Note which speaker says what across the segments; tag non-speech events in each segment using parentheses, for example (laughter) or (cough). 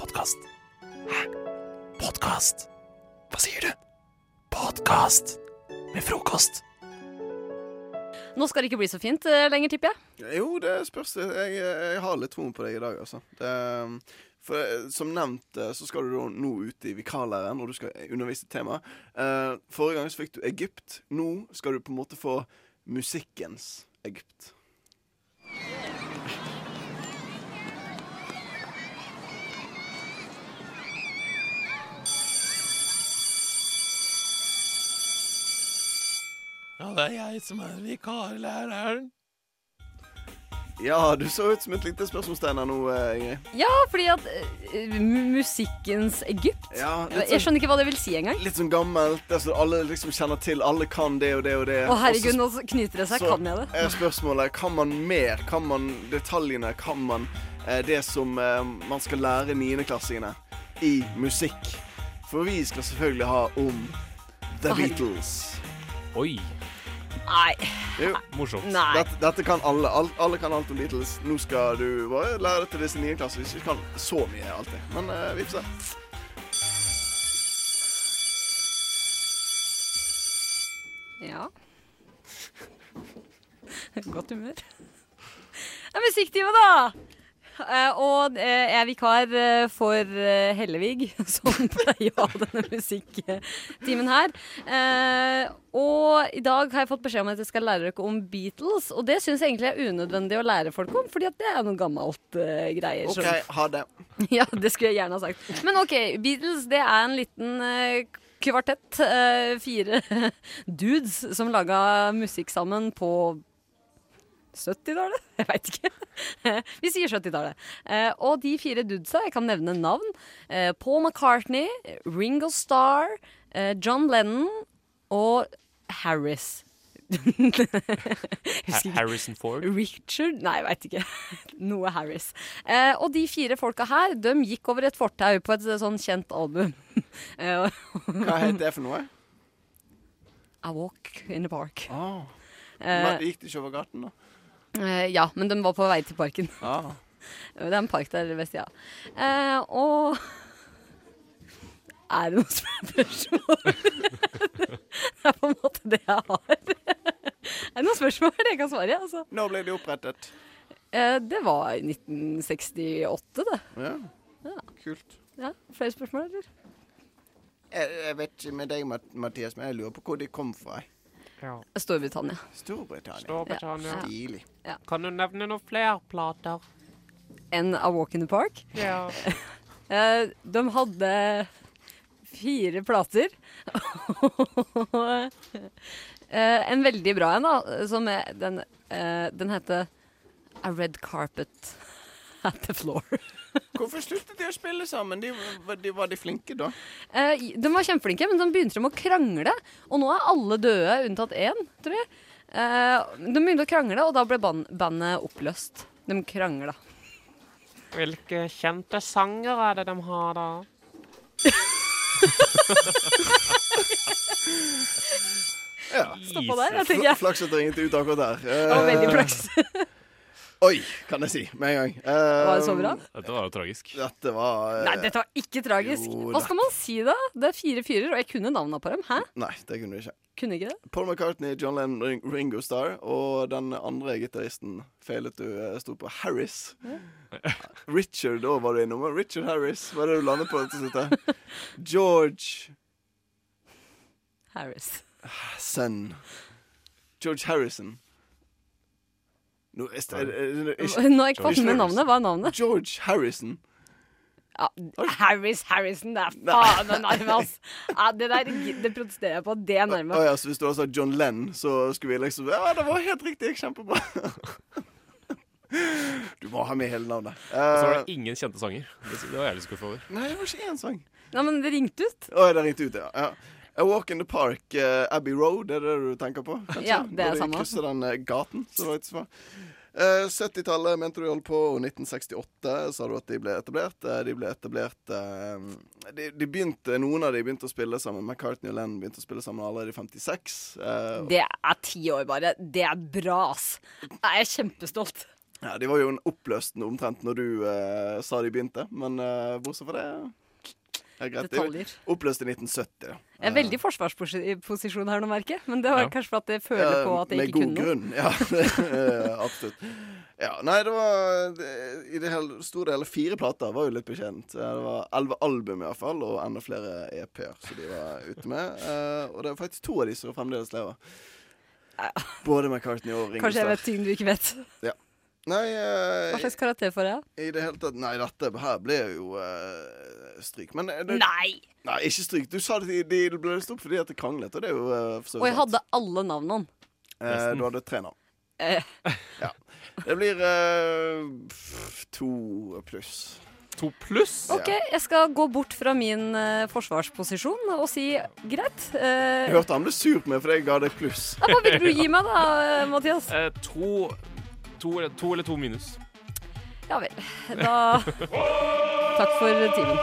Speaker 1: Podkast. Hæ? Podkast? Hva sier du? Podkast med frokost.
Speaker 2: Nå skal det ikke bli så fint eh, lenger, tipper jeg.
Speaker 3: Jo, det spørs. Jeg, jeg har litt troen på deg i dag, altså. Det, for eh, som nevnt eh, så skal du da nå ut i vikarlæren, og du skal undervise i tema. Eh, forrige gang så fikk du Egypt. Nå skal du på en måte få musikkens Egypt.
Speaker 1: Ja, det er jeg som er vikarlæreren.
Speaker 3: Ja, du så ut som et lite spørsmålstegn her nå, eh, Ingrid.
Speaker 2: Ja, fordi at eh, mu- musikkens Egypt Eh,
Speaker 3: Ja, litt
Speaker 2: Jeg
Speaker 3: sånn,
Speaker 2: skjønner ikke hva det vil si engang.
Speaker 3: litt sånn gammelt. Det som alle liksom kjenner til. Alle kan det og det og det.
Speaker 2: Å herregud,
Speaker 3: Og så
Speaker 2: nå knyter det seg.
Speaker 3: eh, Så-
Speaker 2: Kan jeg det?
Speaker 3: er spørsmålet kan man mer? Kan man detaljene? Kan man eh, det som eh, man skal lære niendeklassingene i musikk? For vi skal selvfølgelig ha om The
Speaker 2: Oi.
Speaker 3: Beatles.
Speaker 1: Oi,
Speaker 2: Nei.
Speaker 3: Jo,
Speaker 1: morsomt.
Speaker 2: Nei.
Speaker 3: dette, dette kan alle. Al- alle kan alt om Beatles. Nå skal du bare lære det til disse niendeklassingene. Ikke kan så mye alltid, men eh, vi får se.
Speaker 2: Ja. (laughs) Godt humør. Det er musikktime, da! Eh, og eh, jeg er vikar eh, for eh, Hellevig, (laughs) som pleier å ha denne musikktimen her. Eh, og i dag har jeg fått beskjed om at jeg skal lære dere om Beatles. Og det syns jeg egentlig er unødvendig å lære folk om, fordi at det er noe gammelt eh, greier. som-
Speaker 3: OK, ha det.
Speaker 2: (laughs) ja, det skulle jeg gjerne ha sagt. Men OK, Beatles det er en liten eh, kvartett. eh, fire (laughs) dudes som laga musikk sammen på 70-tallet? (laughs) Jeg veit ikke. (laughs) Vi sier 70-tallet. Eh, og de fire dudesa, jeg kan nevne navn. eh, Paul McCartney, Ringo Starr, eh, John Lennon og Harris. (laughs)
Speaker 1: Ha Harrison Ford.
Speaker 2: Richard Nei, jeg veit ikke. (laughs) Noe Harris. Eh, og de fire folka her, de gikk over et fortau på et sånn kjent album. (laughs) eh,
Speaker 3: Hva heter
Speaker 2: (laughs)
Speaker 3: det for noe?
Speaker 2: I Walk in the Park.
Speaker 3: Ah.
Speaker 2: Eh,
Speaker 3: Men gikk det ikke over gaten, da?
Speaker 2: eh, ja, men de var på vei til
Speaker 3: (laughs)
Speaker 2: parken.
Speaker 3: Ah.
Speaker 2: Det er en park der ved sida. Eh, og Er det noe spørsmål? (laughs) det er på en måte det jeg har. (laughs) er det noen spørsmål jeg kan svare? Altså.
Speaker 3: Nå ble de opprettet.
Speaker 2: Eh, det var i 1968, det.
Speaker 3: Ja. Kult.
Speaker 2: Ja, flere spørsmål, eller?
Speaker 3: Jeg, jeg vet ikke med deg, Mat- Mathias, men jeg lurer på hvor de kom fra.
Speaker 2: Storbritannia.
Speaker 3: Storbritannia.
Speaker 4: Storbritannia.
Speaker 3: Stilig.
Speaker 4: Kan du nevne noen flere plater?
Speaker 2: enn A Walk in the Park.
Speaker 4: Ja.
Speaker 2: (laughs) Eh, de hadde fire plater. (laughs) Og eh, en veldig bra en, da, som er den, eh, den heter A Red Carpet at the Floor. (laughs)
Speaker 3: Hvorfor sluttet de å spille sammen? De, var- de, var de flinke da?
Speaker 2: Eh, de var kjempeflinke, men de begynte de å krangle. Og nå er alle døde unntatt én, tror jeg. Eh, de begynte å krangle, og da ble ban bandet oppløst. De krangla.
Speaker 4: Hvilke kjente sanger er det de har, (laughs) da?
Speaker 3: Ja.
Speaker 2: Stoppa der, jeg tenker
Speaker 3: Fl
Speaker 2: jeg.
Speaker 3: Flaks at det ringte ut akkurat der.
Speaker 2: Det var veldig
Speaker 3: Eh,
Speaker 2: flaks.
Speaker 3: (laughs) oi, kan jeg si med en gang. Eh,
Speaker 2: Var det så bra?
Speaker 1: Dette var jo tragisk.
Speaker 3: Dette var eh,
Speaker 2: Nei, dette var ikke tragisk.
Speaker 3: Jo
Speaker 2: Hva
Speaker 3: da.
Speaker 2: skal man si da? Det er fire fyrer, og jeg kunne navnene på dem. Hæ?
Speaker 3: Nei, det kunne du ikke.
Speaker 2: Kunne ikke det?
Speaker 3: Paul McCartney, John Lennon, Ring Ringo Starr og den andre gitaristen feilet du eh, sto på Harris. Richard da var du innom. Richard Harris, hva er det du landet på til slutt? her? George
Speaker 2: Harris.
Speaker 3: Son. George Harrison. Nå, er det- er det- ikke-
Speaker 2: Nå har jeg ikke fått med
Speaker 1: Harrison.
Speaker 2: navnet. Hva er navnet?
Speaker 3: George Harrison.
Speaker 2: Ja, Harris Harrison, det er faen meg nærme, ass. Ja, det der det protesterer jeg på. Det er
Speaker 3: Å
Speaker 2: nærme.
Speaker 3: ja, så hvis du hadde sagt John Lenn, så skulle vi liksom Ja, det var helt riktig.
Speaker 2: (laughs)
Speaker 3: Kjempebra. Du må ha med hele navnet.
Speaker 1: Og så var
Speaker 3: Eh,
Speaker 1: det ingen kjente
Speaker 3: (laughs)
Speaker 1: sanger. Det det var jeg litt skuffet over.
Speaker 3: nei, det var ikke én sang.
Speaker 2: Nei, men det ringte ut.
Speaker 3: Å, det ringte ut, ja. ja. A Walk in the Park, eh, Abbey Road, er det du tenker på? kanskje?
Speaker 2: Ja, det
Speaker 3: Når
Speaker 2: er
Speaker 3: de
Speaker 2: samme. altså.
Speaker 3: krysser den eh, gaten, så var det et svar. Eh, 70-tallet mente du holdt på, og 1968 sa du at de ble etablert. Eh, de ble etablert eh, de, de begynte, Noen av de begynte å spille sammen. McCartney og Lennon begynte å spille sammen allerede i 56. eh,
Speaker 2: Det er ti år, bare. Det er bra, ass. Jeg er kjempestolt.
Speaker 3: Ja, De var jo en oppløsende omtrent når du eh, sa de begynte, men eh, bortsett fra det ja, greit. Det er
Speaker 2: Detaljer.
Speaker 3: Oppløst i 1970. da.
Speaker 2: Jeg er veldig i forsvarsposisjon her nå, merker jeg. Men det var
Speaker 5: Ja.
Speaker 2: kanskje for at jeg føler
Speaker 3: Ja,
Speaker 2: på at jeg
Speaker 3: med
Speaker 2: ikke kunne
Speaker 3: god
Speaker 2: noe.
Speaker 3: grunn. Ja, (laughs) eh, absolutt. Ja, nei, det var det, I det hele, store hele fire plater var jo litt beskjedent. Eh, Det var elleve album i hvert fall, og enda flere EP-er som de var ute med. Eh, og det er faktisk to av de som fremdeles lever. Både McCartney og Ringo
Speaker 2: Kanskje jeg
Speaker 3: Starr.
Speaker 2: vet ting du ikke vet.
Speaker 3: Nei, eh,
Speaker 2: Hva slags karakter får jeg?
Speaker 3: i det hele tatt Nei, dette her ble jo eh, stryk. Men eh, det,
Speaker 2: Nei!
Speaker 3: nei, ikke stryk. Du sa det de, de ble løst opp fordi at det kranglet, og det er jo eh, for så
Speaker 2: Og jeg
Speaker 3: vidt sant.
Speaker 2: hadde alle navnene.
Speaker 3: Eh, du hadde tre navn.
Speaker 2: Eh.
Speaker 3: Ja. Det blir eh, pff, to pluss.
Speaker 5: To pluss?
Speaker 2: OK, jeg skal gå bort fra min eh, forsvarsposisjon og si greit. eh,
Speaker 3: Jeg hørte han ble sur på meg fordi jeg ga deg pluss.
Speaker 2: ja, hva vil du gi meg da, (laughs) eh, Mathias?
Speaker 5: Eh, to, to, eller- to eller to minus.
Speaker 2: Ja vel. Da Takk for timen.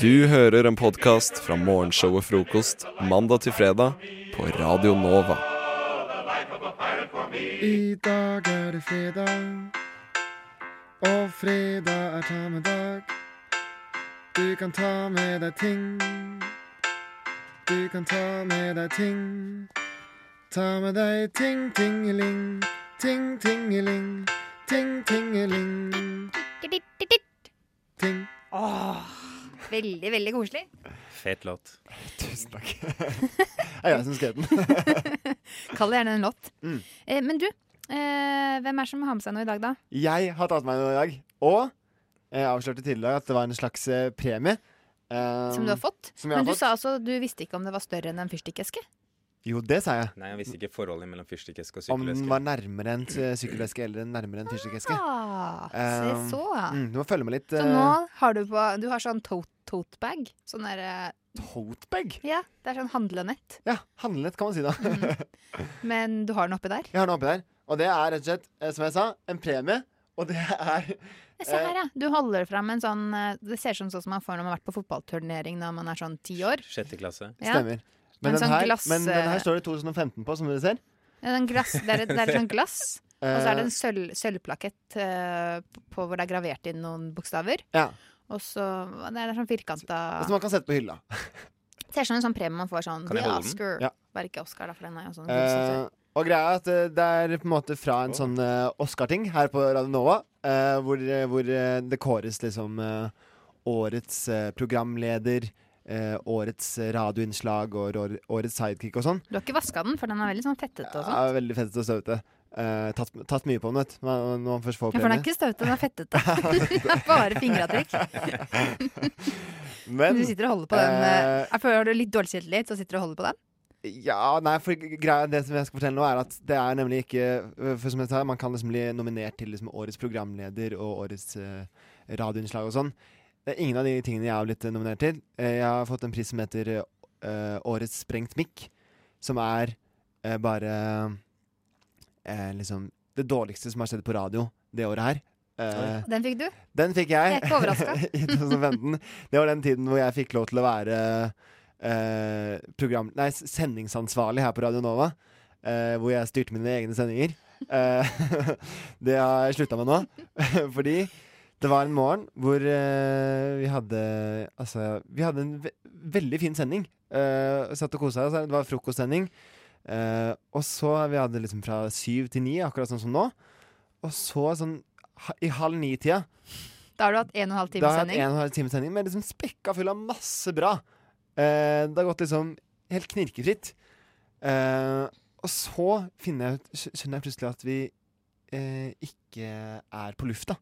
Speaker 6: Du hører en podkast fra morgenshow og frokost mandag til fredag på Radio Nova.
Speaker 7: I dag er det fredag, og fredag er ta med dag. Du kan ta med deg ting. Du kan ta med deg ting. Ta med deg ting, tingeling. Ting, tingeling. Ting, tingeling. Ting.
Speaker 8: Veldig, veldig koselig. (laughs)
Speaker 5: Fet låt.
Speaker 7: Tusen takk. Det er jeg som skrev den.
Speaker 8: (laughs)
Speaker 7: Mm.
Speaker 8: Kall det gjerne en låt. Eh, men du, eh, hvem er det som har med seg noe i dag, da?
Speaker 7: Jeg har tatt med meg noe i dag, og jeg avslørte tidligere at det var en slags eh, premie. Eh,
Speaker 8: Som du har fått?
Speaker 7: Um, som jeg har
Speaker 8: Men du
Speaker 7: fått.
Speaker 8: sa altså du visste ikke om det var større enn en fyrstikkeske.
Speaker 7: Jo, det sa jeg.
Speaker 9: Nei, han visste ikke forholdet mellom fyrstikkeske og
Speaker 7: Om den
Speaker 9: sykkelveske.
Speaker 7: var nærmere en t- sykkelveske eller nærmere en fyrstikkeske.
Speaker 8: Ah,
Speaker 7: Um,
Speaker 8: se så.
Speaker 7: Mm, du må følge med litt.
Speaker 8: Så nå har du på Du har sånn tote, tote bag. Sånn der, eh,
Speaker 7: Totebag?
Speaker 8: ja, det er sånn handlenett.
Speaker 7: Ja, handlenett kan man si da.
Speaker 8: Mm. Men du har den oppi der.
Speaker 7: (laughs) Jeg har den oppi der. Og det er rett og slett, eh, som jeg sa, en premie. Og det er
Speaker 8: Ja,
Speaker 7: Eh,
Speaker 8: Se her, ja. Du holder fram en sånn eh, Det ser ut som sånn som man får når man har vært på fotballturnering når man er sånn ti år.
Speaker 9: Sjette klasse.
Speaker 8: Ja.
Speaker 7: Stemmer. Men,
Speaker 8: En
Speaker 7: den
Speaker 8: sånn
Speaker 7: her,
Speaker 8: glass,
Speaker 7: men den
Speaker 8: eh,
Speaker 7: her står det 2015 på, som dere ser.
Speaker 8: Det er, en glass, det er, et, det er et sånt glass,
Speaker 7: (laughs) Eh.
Speaker 8: og så er det en sølv, sølvplakett eh, på hvor det er gravert inn noen bokstaver.
Speaker 7: Ja.
Speaker 8: Og så Det er sånn firkanta
Speaker 7: Eh, Som man kan sette på hylla.
Speaker 8: Det ser ut som en sånn premie man får sånn
Speaker 9: Kan jeg
Speaker 8: The
Speaker 9: holde den?
Speaker 8: Oscar.
Speaker 7: Ja.
Speaker 8: Bare ikke Oscar, da, for den er jo sånn.
Speaker 7: Eh, og greia er at eh, det er på en måte fra en sånn eh, Oscar-ting her på Radio Nova, eh, hvor, eh, hvor eh, det kåres liksom eh, årets eh, programleder, eh, årets radioinnslag og rå- årets sidekick og sånn.
Speaker 8: du har ikke vaska den, for den er veldig sånn fettete og sånn.
Speaker 7: Ja, veldig fett og støvete. Eh, tatt, tatt mye på den, vet du. eh, Når når man først får
Speaker 8: Ja, for den
Speaker 7: premie.
Speaker 8: er ikke støvete, den er
Speaker 7: (laughs)
Speaker 8: fettete. det er bare fingeravtrykk.
Speaker 7: (laughs) Men
Speaker 8: Du sitter og holder på den. eh,
Speaker 7: eh,
Speaker 8: Jeg føler du litt dårlig selvtillit, så sitter du og holder på den.
Speaker 7: Ja, nei, for greia Det som jeg skal fortelle nå, er at det er nemlig ikke For som jeg sa, man kan liksom bli nominert til liksom årets programleder og årets eh, radioinnslag og sånn. Det er ingen av de tingene jeg har blitt eh, nominert til. Eh, jeg har fått en pris som heter eh, Årets sprengt mikk, som er eh, bare eh, liksom det dårligste som har skjedd på radio det året her. Eh,
Speaker 8: Den fikk du.
Speaker 7: den fikk jeg.
Speaker 8: Jeg er ikke
Speaker 7: (laughs)
Speaker 8: overrasket.
Speaker 7: I 2015. Det var den tiden hvor jeg fikk lov til å være eh, program, nei, s- sendingsansvarlig her på Radio Nova. eh, hvor jeg styrte mine egne sendinger. Eh, (laughs) det har jeg slutta med nå. (laughs) Fordi det var en morgen hvor eh, vi hadde Altså, vi hadde en ve veldig fin sending. Eh, satt og kosa oss. her. Det var frokostsending. Eh, og så Vi hadde liksom fra syv til ni, akkurat sånn som nå. Og så sånn ha- i halv ni-tida
Speaker 8: Da har du hatt en og en halv
Speaker 7: da
Speaker 8: times
Speaker 7: har jeg hatt
Speaker 8: sending.
Speaker 7: en og en halv time sending, men liksom spekka full av masse bra. Eh, det har gått liksom helt knirkefritt. Eh, og så finner jeg, ut- skj- skjønner jeg plutselig at vi eh, ikke er på lufta.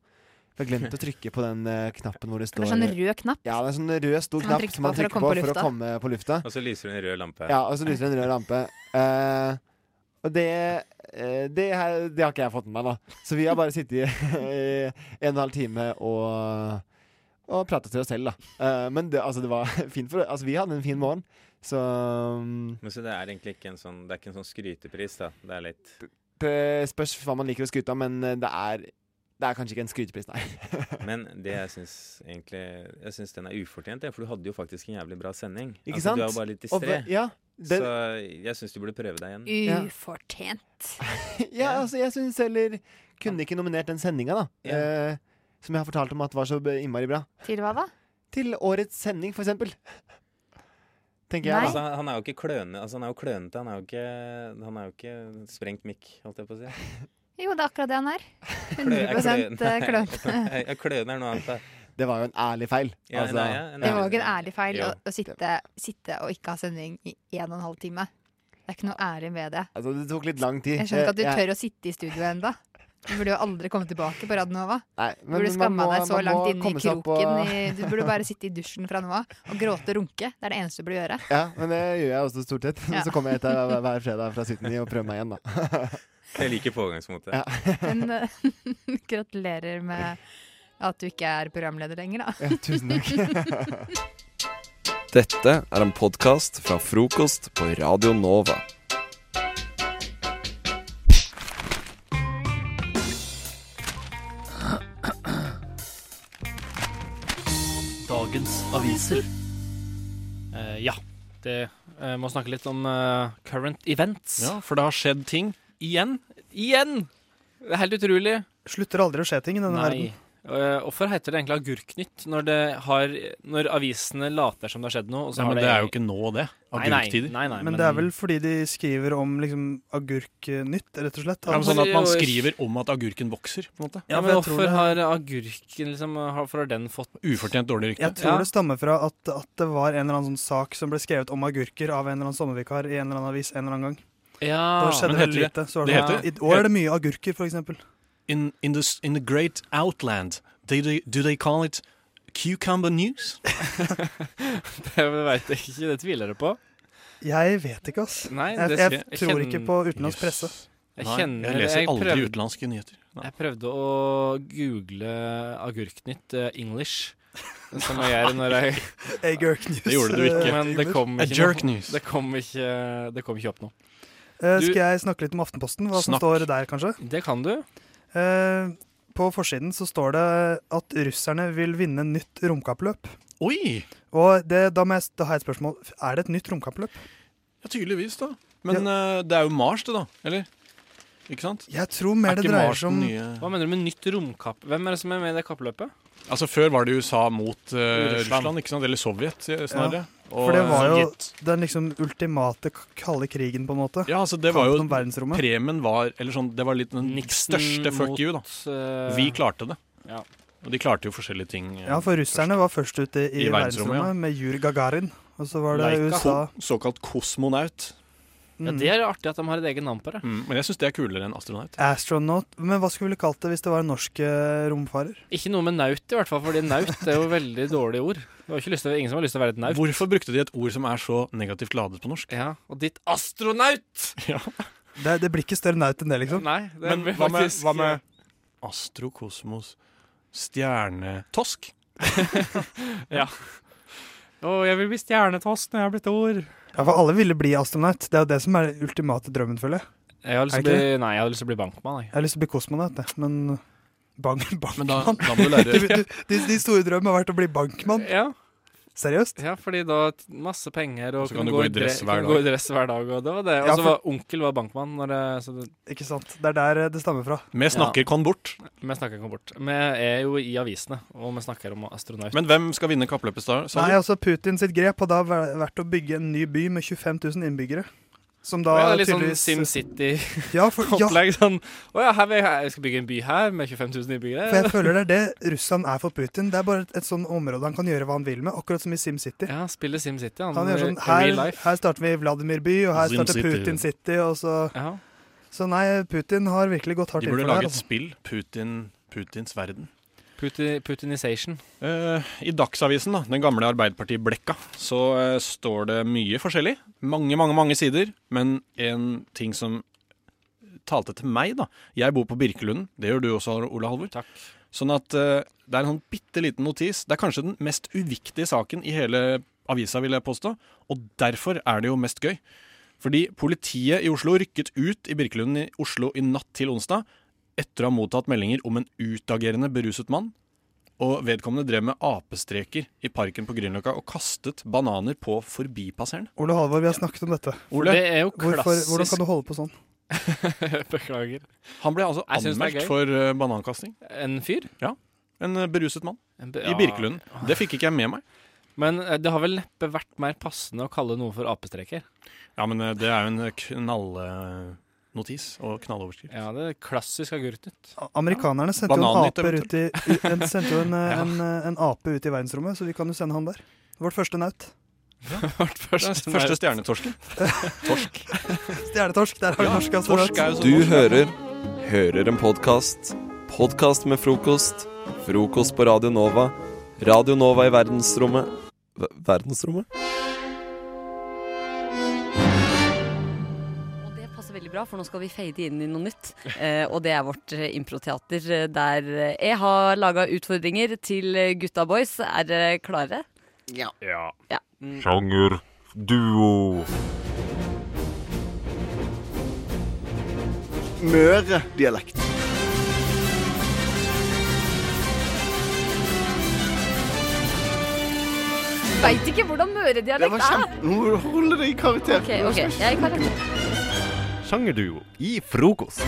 Speaker 7: Vi har glemt å trykke på den eh, knappen hvor det
Speaker 8: Det
Speaker 7: står
Speaker 8: er sånn rød knapp.
Speaker 7: Ja, det er sånn rød stor
Speaker 8: Som man
Speaker 7: knapp
Speaker 8: trykker
Speaker 7: som man
Speaker 8: på for å
Speaker 7: trykker på,
Speaker 8: komme på
Speaker 7: for å
Speaker 8: lufta.
Speaker 7: komme på lufta.
Speaker 9: Og så lyser det en rød lampe her.
Speaker 7: Ja, og så
Speaker 10: (clears throat)
Speaker 7: lyser det en rød lampe. Eh, og det, eh, det, her, det har ikke jeg fått med meg, da. Så vi har bare sittet i, (laughs) i en og en halv time og, og pratet til oss selv, da. Eh, men det, altså, det var (laughs) fint for Altså, vi hadde en fin morgen, så um,
Speaker 9: Men så det er egentlig ikke en sånn Det er
Speaker 11: (laughs)
Speaker 9: ikke en sånn skrytepris, da. Det er litt
Speaker 7: eh, Det spørs hva man liker å skryte av, men det er
Speaker 11: Det er kanskje ikke en skrytepris, nei.
Speaker 7: (laughs)
Speaker 10: Men det jeg syns egentlig Jeg synes den er ufortjent, ja, for du hadde jo faktisk en jævlig bra sending.
Speaker 11: Ikke
Speaker 10: altså, Du
Speaker 11: sant?
Speaker 10: er bare litt
Speaker 11: Og
Speaker 10: distré.
Speaker 11: hva- ja, den,
Speaker 10: Så jeg syns du burde prøve deg igjen.
Speaker 11: Ja.
Speaker 2: Ufortjent.
Speaker 11: (laughs) ja, altså, jeg syns heller Kunne ikke nominert den sendinga, da.
Speaker 10: Ja.
Speaker 11: Eh, som jeg har fortalt om at var så innmari bra.
Speaker 8: Til hva da?
Speaker 11: Til årets sending, for eksempel. Tenker
Speaker 8: Nei.
Speaker 9: (laughs)
Speaker 11: jeg,
Speaker 10: Altså, han- han er jo ikke klønete. Altså, han er jo klønete. Han er jo ikke, han er jo ikke sprengt mikk, holdt jeg på å si.
Speaker 11: (laughs)
Speaker 8: Jo, det er akkurat det han
Speaker 9: (laughs)
Speaker 8: er.
Speaker 10: Klø- er
Speaker 8: 100
Speaker 10: klø-
Speaker 8: klønete.
Speaker 10: Nei, ja, Klønete er noe annet. da.
Speaker 11: da. Det var jo en ærlig feil.
Speaker 10: Ja,
Speaker 11: altså,
Speaker 10: nei, ja, nei.
Speaker 8: Det var jo ikke en ærlig feil
Speaker 10: Jo.
Speaker 8: å, å sitte, sitte og ikke ha sending i en og en halv time. Det er ikke noe ære ved det.
Speaker 11: altså, det tok litt lang tid.
Speaker 8: Jeg skjønner ikke at du
Speaker 11: Eh, jeg-
Speaker 8: tør å sitte i studio enda. Du burde jo aldri komme tilbake på Radionova.
Speaker 11: Nei,
Speaker 8: Du burde
Speaker 11: man
Speaker 8: skamma
Speaker 11: må-
Speaker 8: deg så
Speaker 11: man må
Speaker 8: langt inn i
Speaker 11: komme seg opp
Speaker 8: kroken.
Speaker 11: og-
Speaker 8: I, du burde bare sitte i dusjen fra nå av og gråte og runke. Det er det eneste du burde gjøre.
Speaker 11: Ja, men det gjør jeg også stort sett. (laughs)
Speaker 8: Ja.
Speaker 11: Så kommer jeg etter hver, hver fredag fra 79 og prøver meg igjen, da.
Speaker 10: Jeg liker pågangsmotet.
Speaker 11: Ja.
Speaker 8: Men eh, (laughs) gratulerer med at du ikke er programleder lenger, da.
Speaker 11: Ja, tusen takk.
Speaker 8: (laughs)
Speaker 6: Dette er en podkast fra frokost på Radio Nova.
Speaker 12: Dagens aviser. Eh, ja. Det eh, må snakke litt om eh, current events, for det har skjedd ting igjen. Igjen! Det er helt utrolig.
Speaker 13: Slutter aldri å skje ting i denne
Speaker 12: Nei. Eh, hvorfor heter det egentlig Agurknytt når, det har, når avisene later som det har skjedd noe? Og så
Speaker 14: Nei,
Speaker 12: har
Speaker 14: men det er jo ikke nå, det.
Speaker 12: Nei, nei,
Speaker 14: Agurktider.
Speaker 12: Nei, nei,
Speaker 13: verden. Men det er vel fordi de skriver om liksom, agurknytt, rett og slett. Altså,
Speaker 14: Ja, men sånn at man
Speaker 12: Hvorfor-
Speaker 14: skriver om at agurken vokser, på en måte.
Speaker 12: ja,
Speaker 13: Ja, for
Speaker 12: men
Speaker 13: jeg tror
Speaker 12: Hvorfor
Speaker 13: det-
Speaker 12: har agurken liksom, har- Hvorfor har den fått
Speaker 14: Ufortjent dårlig rykte.
Speaker 13: Jeg tror
Speaker 12: Ja.
Speaker 13: det stammer fra at, at det var en eller annen sånn sak som ble skrevet om agurker av en eller annen sommervikar i en eller annen avis en eller annen gang. Da
Speaker 12: Ja,
Speaker 13: skjedde
Speaker 14: men
Speaker 13: veldig
Speaker 14: heter
Speaker 13: lite. Så var
Speaker 14: det
Speaker 13: det sånn,
Speaker 14: heter-
Speaker 13: I år er det mye agurker, for eksempel.
Speaker 14: In, in, the, s- in the great outland, do they, do they call it cucumber
Speaker 13: (laughs)
Speaker 14: news?
Speaker 12: det veit jeg ikke. Det tviler jeg på.
Speaker 13: Jeg vet ikke, ass.
Speaker 12: Nei,
Speaker 13: Jeg,
Speaker 12: det,
Speaker 13: jeg
Speaker 12: jeg
Speaker 13: tror
Speaker 12: kjenner-
Speaker 13: ikke på utenlandsk presse.
Speaker 12: Jeg
Speaker 14: Nei,
Speaker 12: kjenner-
Speaker 14: jeg leser
Speaker 12: jeg
Speaker 14: aldri
Speaker 12: prøvde-
Speaker 14: utenlandske nyheter. Nei.
Speaker 12: Jeg prøvde å google Agurknytt eh,
Speaker 14: (laughs)
Speaker 12: English, som jeg gjør når jeg
Speaker 13: Agurknews.
Speaker 14: Det gjorde du ikke.
Speaker 13: eh,
Speaker 12: Men det
Speaker 13: timer.
Speaker 12: kom
Speaker 14: A
Speaker 12: ikke
Speaker 14: jerk
Speaker 12: noe-
Speaker 14: news.
Speaker 12: Det kom ikke, det kom ikke opp nå.
Speaker 13: Eh,
Speaker 12: Du-
Speaker 13: Skal jeg snakke litt om Aftenposten? Hva som
Speaker 14: Snakk.
Speaker 13: står der, kanskje?
Speaker 12: Det kan du.
Speaker 13: Eh, på forsiden så står det at russerne vil vinne nytt romkappløp.
Speaker 14: Oi!
Speaker 13: Og det, da, må jeg, da har jeg et spørsmål. Er det et nytt romkappløp?
Speaker 14: Ja, tydeligvis, da. Men eh, det er jo Mars, det, da. Eller? Ikke sant?
Speaker 13: Jeg tror mer
Speaker 14: er
Speaker 13: det
Speaker 14: ikke
Speaker 13: dreier
Speaker 14: Mars
Speaker 13: seg om
Speaker 14: den nye
Speaker 12: Hva mener du med nytt romkapp? Hvem er det som er med i det kappløpet?
Speaker 14: Altså, før var det USA mot eh,
Speaker 12: Russland.
Speaker 14: Russland, ikke sant? Eller Sovjet, eh, snarere.
Speaker 13: For det var jo
Speaker 14: Sovjet.
Speaker 13: den liksom ultimate k- kalde krigen, på en måte.
Speaker 14: Ja, altså, det var jo
Speaker 13: Kampen om verdensrommet.
Speaker 14: Premien var Eller sånn, det var litt den største fuck you, da.
Speaker 12: eh,
Speaker 14: Vi klarte det.
Speaker 12: ja.
Speaker 14: Og de klarte jo forskjellige ting. eh,
Speaker 13: Ja, for russerne var først ute i,
Speaker 14: I verdensrommet,
Speaker 13: verdensrommet med Jur Gagarin. Og så var det
Speaker 14: Leica.
Speaker 13: USA.
Speaker 14: Ko såkalt kosmonaut.
Speaker 12: ja,
Speaker 13: Mm.
Speaker 12: Det er artig at de har et eget navn på det.
Speaker 14: Mm, men jeg syns det er kulere enn astronaut.
Speaker 13: Astronaut. Men hva skulle vi kalt det hvis det var en norsk eh, romfarer?
Speaker 12: Ikke noe med naut, i hvert fall, fordi naut er jo veldig dårlig ord. Du har ikke lyst til, ingen som har lyst til å være et naut.
Speaker 14: Hvorfor brukte de et ord som er så negativt ladet på norsk? (laughs)
Speaker 12: Ja, Og ditt astronaut!
Speaker 13: Det, det blir ikke større naut enn det, liksom.
Speaker 12: Nei, det
Speaker 14: Men
Speaker 12: blir
Speaker 14: hva med,
Speaker 12: faktisk-
Speaker 14: hva med astro, kosmos, (laughs) stjernetosk?
Speaker 12: Å, jeg vil bli stjernetost når jeg er blitt stor.
Speaker 13: Ja, For alle ville bli astronaut. Det er jo det som er den ultimate drømmen, føler jeg.
Speaker 12: Jeg har lyst til å
Speaker 13: Er det
Speaker 12: bli, nei, jeg har lyst til å bli bankmann. Jeg.
Speaker 13: Jeg har lyst til å bli kosmonaut, jeg. Men (laughs) bank,
Speaker 14: Men da,
Speaker 13: bankmann
Speaker 14: da må du
Speaker 13: (laughs) du,
Speaker 14: lære
Speaker 13: du, Din din store drøm har vært å bli bankmann.
Speaker 12: Ja,
Speaker 13: Seriøst?
Speaker 12: ja, fordi da t- masse penger og
Speaker 14: Og så kan du gå i dress
Speaker 12: dre-
Speaker 14: hver
Speaker 12: kan
Speaker 14: dag.
Speaker 12: gå i dress hver dag. Og det var det. Og
Speaker 13: Ja,
Speaker 12: så
Speaker 13: for-
Speaker 12: var onkel var bankmann. Når det, så det,
Speaker 13: Ikke sant? Det er der eh, det stammer fra.
Speaker 14: Vi snakker kon bort.
Speaker 12: vi snakker ikke om bort. Vi er jo i avisene, og vi snakker om astronaut.
Speaker 14: Men hvem skal vinne kappløpet, sa sa
Speaker 13: Nei,
Speaker 14: du?
Speaker 13: altså Putin sitt grep har da væ- vært å bygge en ny by med 25 000 innbyggere. Som da
Speaker 12: Og ja, litt sånn
Speaker 13: tydeligvis eh,
Speaker 12: SimCity-opplegg.
Speaker 13: (laughs) ja, for, ja, for
Speaker 12: Sånn Å ja, her vil jeg, jeg skal bygge en by her med 25 000 innbyggere.
Speaker 13: jeg
Speaker 12: (laughs)
Speaker 13: føler det er det Russland er for Putin. Det er bare et, et sånn område han kan gjøre hva han vil med, akkurat som i SimCity.
Speaker 12: Ja, spiller SimCity. Han,
Speaker 13: Han gjør sånn
Speaker 12: i
Speaker 13: her,
Speaker 12: real life.
Speaker 13: her starter vi Vladimir by, og her
Speaker 14: Sim
Speaker 13: starter
Speaker 14: City.
Speaker 13: Putin City, og så
Speaker 12: Ja.
Speaker 13: Så nei, Putin har virkelig gått hardt
Speaker 14: De
Speaker 13: inn for
Speaker 14: burde
Speaker 13: det her.
Speaker 14: lage et
Speaker 13: Altså.
Speaker 14: spill. Putin, Putins verden.
Speaker 12: Puti- Putinization.
Speaker 14: Eh, I Dagsavisen, da, den gamle Arbeiderparti-blekka, så eh, står det mye forskjellig. Mange, mange mange sider. Men en ting som talte til meg, da. Jeg bor på Birkelunden. Det gjør du også, Ole Halvor.
Speaker 12: Takk.
Speaker 14: Sånn at eh, det er en sånn bitte liten notis. Det er kanskje den mest uviktige saken i hele avisa, vil jeg påstå. Og derfor er det jo mest gøy. Fordi politiet i Oslo rykket ut i Birkelunden i Oslo i natt til onsdag etter å ha mottatt meldinger om en utagerende beruset mann. Og vedkommende drev med apestreker i parken på Grünerløkka og kastet bananer på forbipasserende.
Speaker 13: Ole Halvor, vi har snakket om dette.
Speaker 14: Ole, Det er jo
Speaker 13: Hvorfor,
Speaker 14: klassisk.
Speaker 13: hvordan kan du holde på sånn?
Speaker 12: (laughs) Beklager.
Speaker 14: Han ble altså
Speaker 12: Jeg synes det er
Speaker 14: anmeldt
Speaker 12: gøy.
Speaker 14: for eh, banankasting.
Speaker 12: En fyr?
Speaker 14: Ja. En eh, beruset mann.
Speaker 12: En be-
Speaker 14: I Birkelunden. Det fikk ikke jeg med meg.
Speaker 12: Men eh, det har vel neppe vært mer passende å kalle noe for apestreker?
Speaker 14: Ja, men eh, det er jo en knallnotis og knalloverskrift.
Speaker 12: Ja, det er klassisk agurknytt.
Speaker 13: Amerikanerne sendte jo en,
Speaker 14: Banan
Speaker 13: aper
Speaker 14: litt,
Speaker 13: ut i, u- en, sendte
Speaker 14: (laughs)
Speaker 13: jo en, eh,
Speaker 12: Ja.
Speaker 13: en, en ape ut i verdensrommet, så vi kan jo sende han der. Vårt første naut.
Speaker 14: (laughs)
Speaker 12: Vårt
Speaker 14: første første naut.
Speaker 13: (laughs)
Speaker 14: stjernetorsken. Torsk.
Speaker 13: Stjernetorsk. Der har vi norsk astronaut.
Speaker 14: sånn
Speaker 6: Du hører Hører en podkast. Podkast med frokost. Frokost på Radio Nova. Radio Nova i verdensrommet Ver- Verdensrommet?
Speaker 2: Det passer veldig bra, for nå skal vi fade inn i noe nytt. Eh, og det er vårt eh, improteater, eh, der eh, jeg har laga utfordringer til eh, gutta boys. Er dere klare?
Speaker 3: Ja.
Speaker 2: ja.
Speaker 15: Sjanger duo.
Speaker 3: Møre-dialekt.
Speaker 2: Veit ikke hvordan
Speaker 3: Det var
Speaker 2: møredialekt er!
Speaker 3: kjempe... Nå må du holde deg i karakter.
Speaker 2: Ok, ok, jeg er i karakter.
Speaker 15: Sjangerduo i frokost.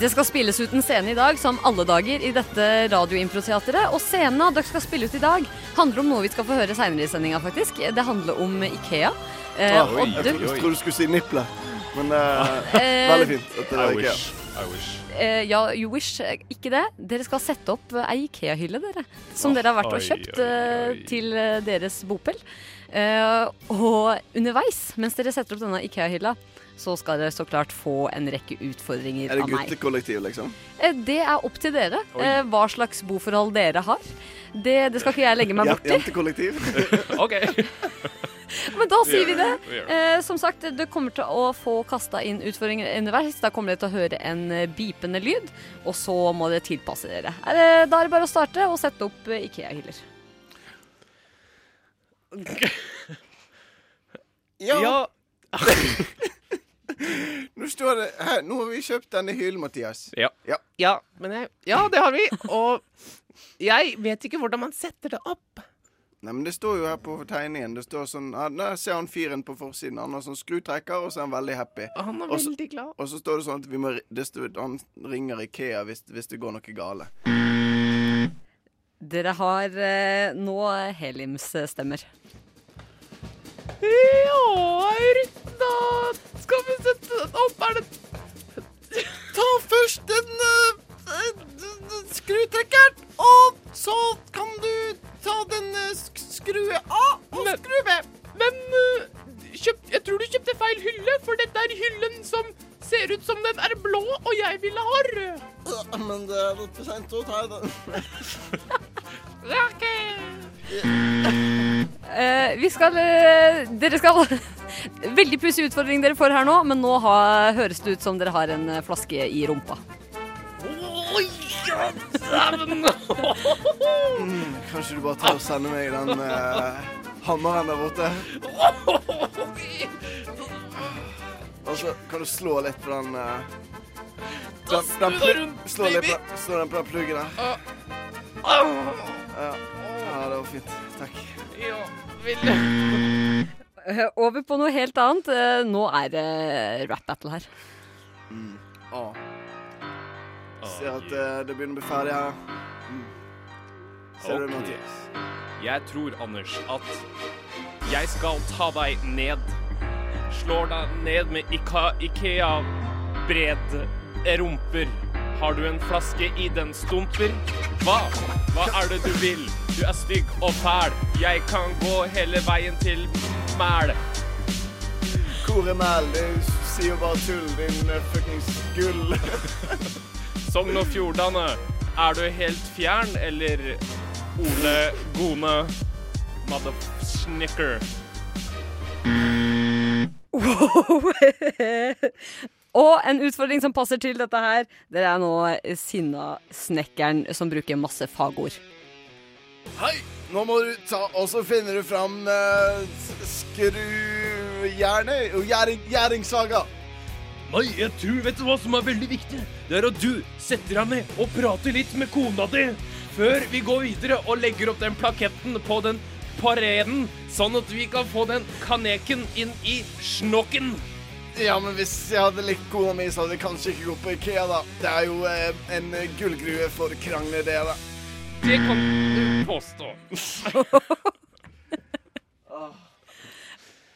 Speaker 2: Det skal spilles ut en scene i dag, som alle dager i dette radioimproteateret. Og scenen dere skal spille ut i dag, handler om noe vi skal få høre seinere i sendinga, faktisk. Det handler om Ikea. Eh,
Speaker 3: Ah,
Speaker 2: og
Speaker 3: jeg
Speaker 2: du-
Speaker 3: trodde- jeg trodde du skulle si nipple, men eh,
Speaker 2: (laughs) Eh,
Speaker 3: veldig fint. At det
Speaker 1: I
Speaker 3: var ikke
Speaker 1: wish. I wish.
Speaker 2: Eh, ja, you wish. eh, Ikke det. Dere skal sette opp eh, ei Ikea-hylle, dere.
Speaker 3: Ah,
Speaker 2: Som dere har vært og
Speaker 1: Oi,
Speaker 2: kjøpt eh, til eh, deres bopel. Eh, og underveis, mens dere setter opp denne Ikea-hylla, så skal dere så klart få en rekke utfordringer
Speaker 3: Er det
Speaker 2: av meg.
Speaker 3: guttekollektiv, liksom?
Speaker 2: Eh, Det er opp til dere
Speaker 3: Oi.
Speaker 2: eh, hva slags boforhold dere har. Det, det skal ikke jeg legge meg
Speaker 3: Ja,
Speaker 2: borti.
Speaker 3: Jentekollektiv?
Speaker 2: Men da sier vi det.
Speaker 3: Vi gjør det.
Speaker 2: Eh, som sagt, du kommer til å få kasta inn utfordringer underveis. Da kommer dere til å høre en eh, bipende lyd, og så må dere tilpasse dere. Er det- Da er det bare å starte og sette opp eh, Ikea-hyller.
Speaker 3: (laughs) Ja. (laughs) Nå står det her, Nå har vi kjøpt denne hyllen, Mathias.
Speaker 1: Ja.
Speaker 4: Ja, men jeg, ja, det har vi. Og jeg vet ikke hvordan man setter det opp.
Speaker 3: Nei, men Det står jo her på tegningen. Det står sånn ja, Der ser han fyren på forsiden. Han har sånn skrutrekker, og så er han veldig happy.
Speaker 4: Han er
Speaker 3: Og så-
Speaker 4: veldig glad.
Speaker 3: Og så står det sånn at vi må, det står, han ringer Ikea hvis, hvis det går noe gale.
Speaker 2: Dere har eh, nå Helims-stemmer.
Speaker 4: Ja, da skal vi sette den opp. Er det Ta først den
Speaker 15: eh, Skrutrekkeren, og så kan du ta den eh, sk- skrue av og skru ved.
Speaker 4: Men eh, kjøpt, jeg tror du kjøpte feil hylle, for dette er hyllen som ser ut som den er blå, og jeg ville ha rød.
Speaker 3: Men det er litt for seint å ta den.
Speaker 2: Eh, vi skal eh, Dere skal (laughs) Veldig pussig utfordring dere får her nå, men nå ha, høres det ut som dere har en eh, flaske i rumpa.
Speaker 4: Oi, (laughs) ja, dæven.
Speaker 3: Mm, kanskje du bare tar og sender meg den eh, hammeren der borte? Og så kan du slå litt på den eh, den- den
Speaker 15: snur
Speaker 3: plu-
Speaker 15: det rundt,
Speaker 3: Slå litt på
Speaker 15: baby.
Speaker 3: den- slå den på den pluggen der.
Speaker 15: Ah.
Speaker 3: Ja. ja, det var fint. Takk.
Speaker 2: Eh, Over på noe helt annet. Eh, Nå er det rap-battle her. (laughs)
Speaker 3: Mm. Ah. Ser at eh, det begynner å bli ferdig her. Mm. Ser du,
Speaker 1: Ok.
Speaker 3: Mathias?
Speaker 1: Jeg tror, Anders, at jeg skal ta deg ned. Slår deg ned med Ika Ikea-brede rumper. Har du en flaske i den stumper? Hva? Hva er det du vil? Du er stygg og fæl. Jeg kan gå hele veien til mæl.
Speaker 3: Hvor er Mæl? Du sier jo bare tull, din eh, fuckings gull.
Speaker 1: (laughs) Sogn og Fjordane, er du helt fjern, eller Ole Gone Motherfsnicker?
Speaker 2: Wow. Og en utfordring som passer til dette her, det er nå sinna snekkeren som bruker masse fagord.
Speaker 3: Hei! Nå må du ta Og så finner du fram eh, uh, skrujernet og gjæring, gjæringssaga.
Speaker 1: Nei, jeg tror Vet du hva som er veldig viktig? Det er at du setter deg ned og prater litt med kona di før vi går videre og legger opp den plaketten på den pareden, sånn at vi kan få den kaneken inn i snokken.
Speaker 3: Ja, men hvis jeg hadde likt kona mi, så hadde jeg kanskje ikke gått på Ikea, da. Det er jo eh, en gullgrue for krangler, det, da.
Speaker 1: Det kan du påstå.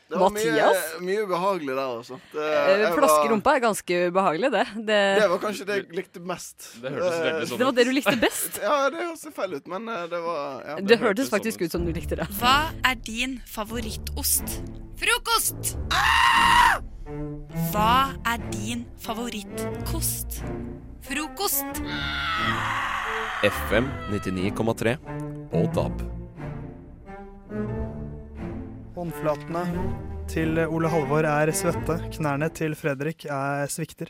Speaker 3: Det var mye,
Speaker 2: (laughs) Mathias?
Speaker 3: mye ubehagelig der, altså. Det,
Speaker 2: Eh,
Speaker 3: jeg var,
Speaker 2: Flaskerumpa er ganske ubehagelig, det. Det,
Speaker 3: det var kanskje det jeg likte mest.
Speaker 1: Det hørtes
Speaker 3: Eh,
Speaker 1: veldig sånn
Speaker 2: Det var det du likte best?
Speaker 3: (laughs) ja, det hørtes litt feil ut, men eh, det sånn var ja,
Speaker 2: det, hørtes faktisk ut som du likte det.
Speaker 16: Hva er din favorittost? Frokost! Hva er din favorittkost? Frokost!
Speaker 6: FM 99,3 og DAB.
Speaker 13: Håndflatene til Ole Halvor er svette, knærne til Fredrik er svikter.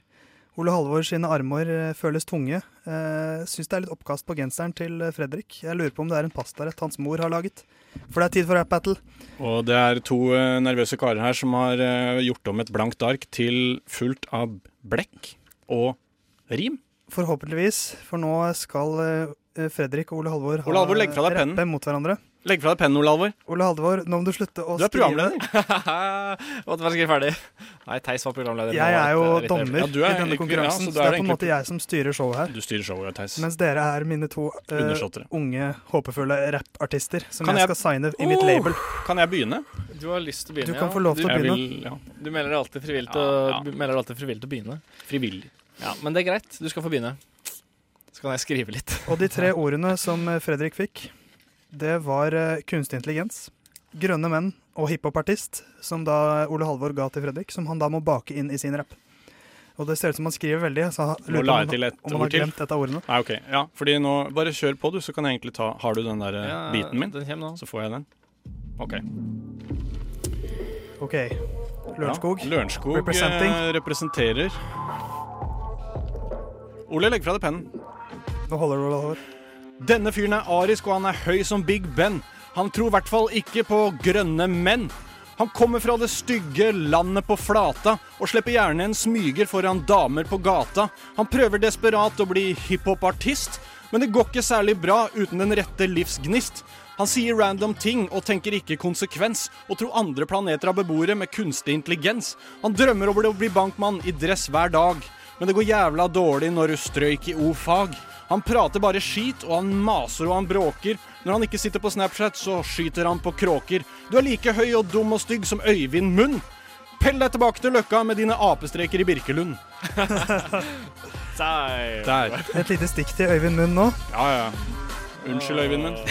Speaker 13: Ole Halvor sine armer eh, føles tunge. Eh, Syns det er litt oppkast på genseren til eh, Fredrik. Jeg lurer på om det er en pastarett hans mor har laget. For det er tid for rap battle.
Speaker 14: Og det er to eh, nervøse karer her som har eh, gjort om et blankt ark til fullt av blekk og rim.
Speaker 13: Forhåpentligvis, for nå skal eh, Fredrik og Ole Halvor ha
Speaker 14: Ole Halvor, legg fra deg
Speaker 13: rappe
Speaker 14: pennen.
Speaker 13: mot hverandre.
Speaker 14: Legg fra deg pennen, Ole Alvor.
Speaker 13: Ole Halvor, nå må du slutte å
Speaker 14: Du er
Speaker 13: skrive.
Speaker 14: programleder.
Speaker 12: (laughs)
Speaker 14: Måtte være skrevet ferdig. Nei, Theis var programleder.
Speaker 13: Jeg er jo dommer
Speaker 14: Ja, du er
Speaker 13: i denne
Speaker 14: egentlig-
Speaker 13: konkurransen,
Speaker 14: ja, så
Speaker 13: så
Speaker 14: du
Speaker 13: det er
Speaker 14: egentlig-
Speaker 13: på en måte jeg som styrer showet her.
Speaker 14: Du styrer showet, ja, Theis.
Speaker 13: Mens dere er mine to eh,
Speaker 14: Undersåttere.
Speaker 13: unge, håpefulle rappartister som
Speaker 14: Kan
Speaker 13: jeg
Speaker 14: jeg-
Speaker 13: skal signe i mitt
Speaker 14: Oh!
Speaker 13: label.
Speaker 14: Kan jeg begynne?
Speaker 12: Du har lyst til å begynne.
Speaker 13: Du kan få lov til å
Speaker 12: ja.
Speaker 13: Jeg begynne.
Speaker 14: vil- ja.
Speaker 12: Du melder deg alltid frivillig til, å- du melder deg alltid frivillig til å begynne.
Speaker 14: Frivillig.
Speaker 12: Ja, Men det er greit. Du skal få begynne. Så kan jeg skrive litt.
Speaker 13: Og de
Speaker 12: (laughs)
Speaker 13: tre ordene som eh, Fredrik fikk, det var eh, kunstig intelligens, grønne menn og hiphopartist, som da Ole Halvor ga til Fredrik, som han da må bake inn i sin rapp. Og det ser ut som han skriver veldig, så jeg
Speaker 14: Nå
Speaker 13: lurer
Speaker 14: la
Speaker 13: på
Speaker 14: jeg
Speaker 13: om
Speaker 14: til
Speaker 13: han,
Speaker 14: et
Speaker 13: om han
Speaker 14: ord
Speaker 13: har
Speaker 14: til.
Speaker 13: glemt et av ordene.
Speaker 14: Nei, ok. Ja, fordi nå Bare kjør på, du, så kan jeg egentlig ta Har du den der eh,
Speaker 13: Ja,
Speaker 14: biten min?
Speaker 12: Den nå.
Speaker 14: Så får jeg den. OK.
Speaker 13: OK. Lørenskog.
Speaker 14: Ja, Lørenskog
Speaker 13: Representing.
Speaker 14: eh, representerer Ole, legg fra deg pennen.
Speaker 13: Nå holder du, Ole Halvor.
Speaker 14: Denne fyren er arisk, og han er høy som Big Ben. Han tror i hvert fall ikke på grønne menn. Han kommer fra det stygge landet på flata og slipper gjerne en smyger foran damer på gata. Han prøver desperat å bli hiphopartist, men det går ikke særlig bra uten den rette livsgnist. Han sier random ting og tenker ikke konsekvens, og tror andre planeter har beboere med kunstig intelligens. Han drømmer om å bli bankmann i dress hver dag, men det går jævla dårlig når du strøyk i o-fag. Han prater bare skit, og han maser og han bråker. Når han ikke sitter på Snapchat, så skyter han på kråker. Du er like høy og dum og stygg som Øyvind Munn. Pell deg tilbake til Løkka med dine apestreker i Birkelund. Der.
Speaker 13: Et lite stikk til Øyvind Munn nå.
Speaker 14: Ja, ja. Unnskyld, Øyvind Munn.
Speaker 12: (laughs)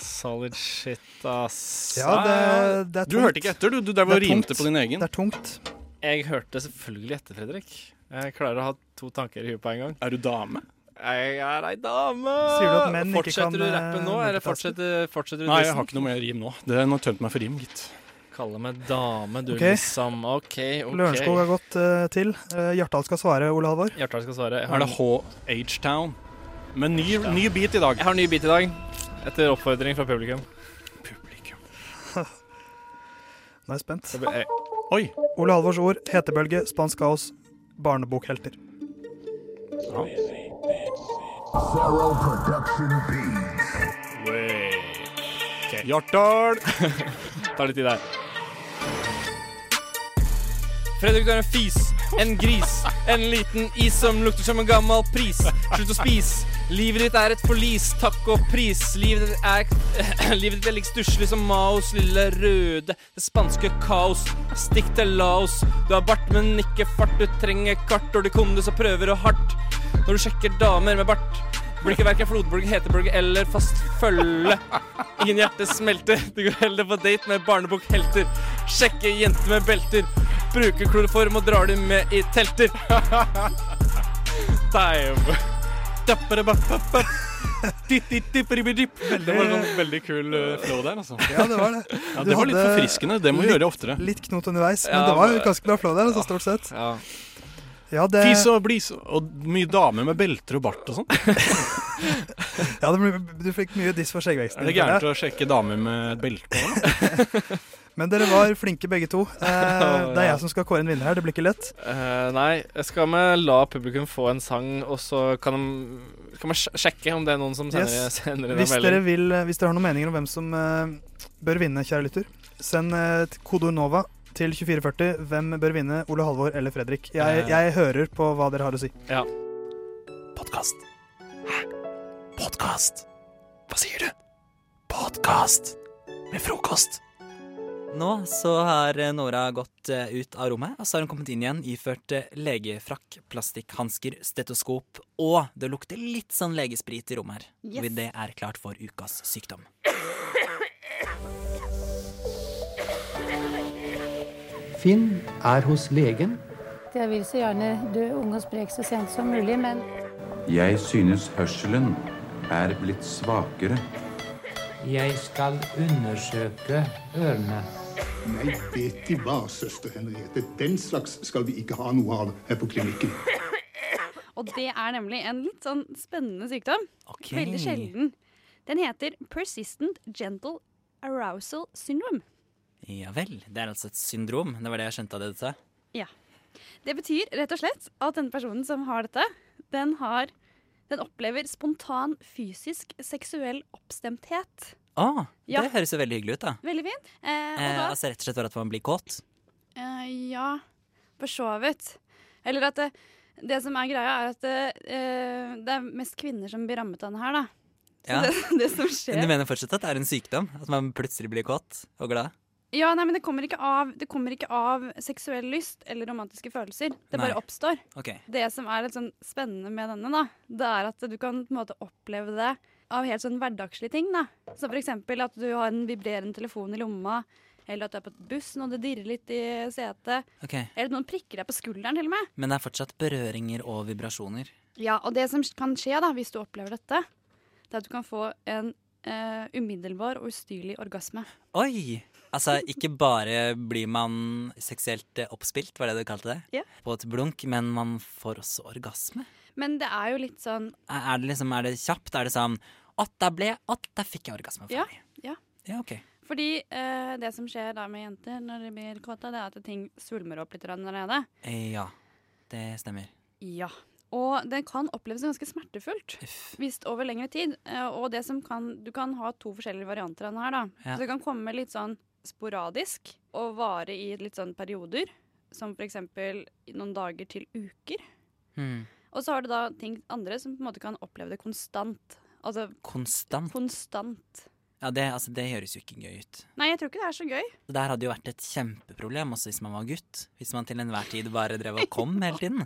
Speaker 12: Solid shit, ass.
Speaker 13: Ja, det, det er tungt.
Speaker 12: Du hørte ikke etter, du. Du drev og
Speaker 13: Det er tungt.
Speaker 12: rimte på din egen.
Speaker 13: Det er tungt.
Speaker 12: Jeg hørte selvfølgelig etter, Fredrik. Jeg klarer å ha to tanker i huet på en gang.
Speaker 14: Er du dame?
Speaker 12: Jeg er ei dame!
Speaker 13: Sier du at menn ikke
Speaker 12: fortsetter
Speaker 13: kan,
Speaker 12: du rappen nå,
Speaker 13: eh,
Speaker 12: eller
Speaker 13: multitaske?
Speaker 12: fortsetter, fortsetter du
Speaker 14: Nei, jeg har ikke noe mer rim nå. Det nå har tømt meg for rim, gitt.
Speaker 12: Kalle meg dame, du,
Speaker 13: Ok.
Speaker 12: liksom. OK, OK.
Speaker 13: Lørenskog har gått eh, til. Eh, Hjartdal skal svare, Ole Halvor.
Speaker 12: Hjertdal skal svare.
Speaker 13: Er det
Speaker 14: H-H-Town? Med ny, ny beat i dag.
Speaker 12: Jeg har ny beat i dag. Etter oppfordring fra publikum.
Speaker 13: Nå er jeg spent.
Speaker 14: Oi.
Speaker 13: Ole Halvors ord, hetebølge, spansk kaos, barnebokhelter.
Speaker 5: Zero production beats.
Speaker 14: Hjartdal!
Speaker 12: (laughs) Ta litt tid der. Fredrik, du er en fis, en gris, en liten is som lukter som en gammel pris. Slutt å spise. Livet ditt er et forlis, takk og pris. Livet ditt er, (clears throat) livet ditt er like stusslig som Maos lille røde. Det spanske kaos. Stikk til Laos. Du har bart, men ikke fart. Du trenger kart, og du kondis og prøver og hardt. Når du sjekker damer med bart. Blir ikke verken flodbølge, hetebølge eller fast følge. Ingen hjerte smelter. Du går heller på date med barnebokhelter. Sjekke jenter med belter. Bruker kloroform og drar dem med i telter. Damn. Dappadabappapap. Dittittipperibidipp.
Speaker 14: Det var sånn veldig kul eh, flow der, altså.
Speaker 13: Eh. Ja, det var det.
Speaker 14: Ja,
Speaker 13: Du
Speaker 14: det var litt
Speaker 13: hadde
Speaker 14: forfriskende. Det må vi
Speaker 13: litt-
Speaker 14: gjøre oftere.
Speaker 13: Litt knot underveis, men
Speaker 14: Ja,
Speaker 13: det var
Speaker 14: men-
Speaker 13: ganske bra flow der, altså, stort sett.
Speaker 12: Ja.
Speaker 13: Ja, det,
Speaker 14: Fis og blis og mye damer med belter og bart
Speaker 13: (laughs)
Speaker 14: og sånn.
Speaker 13: ja, det ble, du fikk mye diss for skjeggveksten.
Speaker 14: Er det
Speaker 13: føler jeg.
Speaker 14: gærent å sjekke damer med belte på?
Speaker 13: (laughs) Men dere var flinke begge
Speaker 14: (laughs)
Speaker 13: to. Eh, det er jeg som skal kåre en vinner her. Det blir ikke lett.
Speaker 12: Eh, nei, skal vi la publikum få en sang, og så kan de kan vi sj- sjekke om det er noen som sender,
Speaker 13: Yes.
Speaker 12: sender inn en
Speaker 13: Hvis dere,
Speaker 12: melding?
Speaker 13: vil, eh, hvis dere har noen meninger om hvem som eh, bør vinne, kjære lytter, send eh, t- kodeord NOVA til 2440. Hvem bør vinne? Ole Halvor eller Fredrik? Jeg,
Speaker 12: Eh.
Speaker 13: jeg hører på hva dere har å si.
Speaker 12: Ja.
Speaker 15: Podkast. Podkast. Hva sier du? Podkast med frokost.
Speaker 17: Nå så har eh, Nora gått eh, ut av rommet, og så har hun kommet inn igjen iført eh, legefrakk, plastikkhansker, stetoskop, og det lukter litt sånn legesprit i rommet her.
Speaker 2: Yes.
Speaker 17: Hvor Det er klart for ukas sykdom.
Speaker 18: Finn er hos legen.
Speaker 19: Jeg vil så gjerne dø ung og sprek så sent som mulig, men
Speaker 20: Jeg synes hørselen er blitt svakere.
Speaker 18: Jeg skal undersøke ørene.
Speaker 21: Nei, vet De hva, søster Henriette. Den slags skal vi ikke ha noe av her på klinikken.
Speaker 22: Og det er nemlig en litt sånn spennende sykdom.
Speaker 21: Ok.
Speaker 22: Veldig sjelden. Den heter persistent gentle arousal syndrome.
Speaker 17: Ja vel. Det er altså et syndrom. Det var det jeg skjønte av det du sa.
Speaker 22: Ja. Det betyr rett og slett at den personen som har dette, den har den opplever spontan fysisk seksuell oppstemthet.
Speaker 17: Å,
Speaker 22: Ja.
Speaker 17: det høres jo veldig hyggelig ut, da.
Speaker 22: Veldig fint. Eh, og
Speaker 17: Eh,
Speaker 22: da
Speaker 17: altså rett og slett bare at man blir kåt.
Speaker 22: Eh, ja, for så vidt. Eller at det, det som er greia, er at det, eh, det er mest kvinner som blir rammet av den her, da. Så
Speaker 17: Ja.
Speaker 22: det, (laughs) det som skjer
Speaker 17: Men du mener fortsatt at det er en sykdom? At man plutselig blir kåt og glad?
Speaker 22: Ja, nei, men det kommer, ikke av, det kommer ikke av seksuell lyst eller romantiske følelser. Det
Speaker 17: Nei.
Speaker 22: bare oppstår.
Speaker 17: Ok.
Speaker 22: Det som er litt sånn spennende med denne, da, det er at du kan på en måte oppleve det av helt sånn hverdagslige ting. da. Så for eksempel at du har en vibrerende telefon i lomma, eller at du er på et bussen og det dirrer litt i setet.
Speaker 17: Ok.
Speaker 22: Eller at noen prikker deg på skulderen til og med.
Speaker 17: Men det er fortsatt berøringer og vibrasjoner.
Speaker 22: Ja, og det som kan skje da, hvis du opplever dette, det er at du kan få en eh, umiddelbar og ustyrlig orgasme.
Speaker 17: Oi! Altså, ikke bare blir man seksuelt eh, oppspilt, var det du kalte det?
Speaker 22: Ja.
Speaker 17: På et blunk, men man får også orgasme.
Speaker 22: Men det er jo litt sånn
Speaker 17: Er er det liksom, er det kjapt? Er det sånn At der ble, at der fikk jeg orgasme.
Speaker 22: Ja, ja.
Speaker 17: Ja, ok.
Speaker 22: Fordi eh, det som skjer da med jenter når de blir kåte, det er at ting svulmer opp litt grann allerede.
Speaker 17: Eh, Ja, det stemmer.
Speaker 22: Ja. Og det kan oppleves ganske smertefullt hvis over lengre tid. Eh, og det som kan, du kan ha to forskjellige varianter av den her. da.
Speaker 17: Ja.
Speaker 22: Så det kan komme litt sånn sporadisk og vare i litt sånn perioder. Som for eksempel i noen dager til uker.
Speaker 17: Hmm.
Speaker 22: Og så har du da ting andre som på en måte kan oppleve det konstant. Altså
Speaker 17: Konstant?
Speaker 22: konstant.
Speaker 17: Ja, det, altså, det høres jo ikke gøy ut.
Speaker 22: Nei, jeg tror ikke det er så gøy.
Speaker 17: Det der hadde jo vært et kjempeproblem også hvis man var gutt. Hvis man til enhver tid bare drev og kom hele tiden.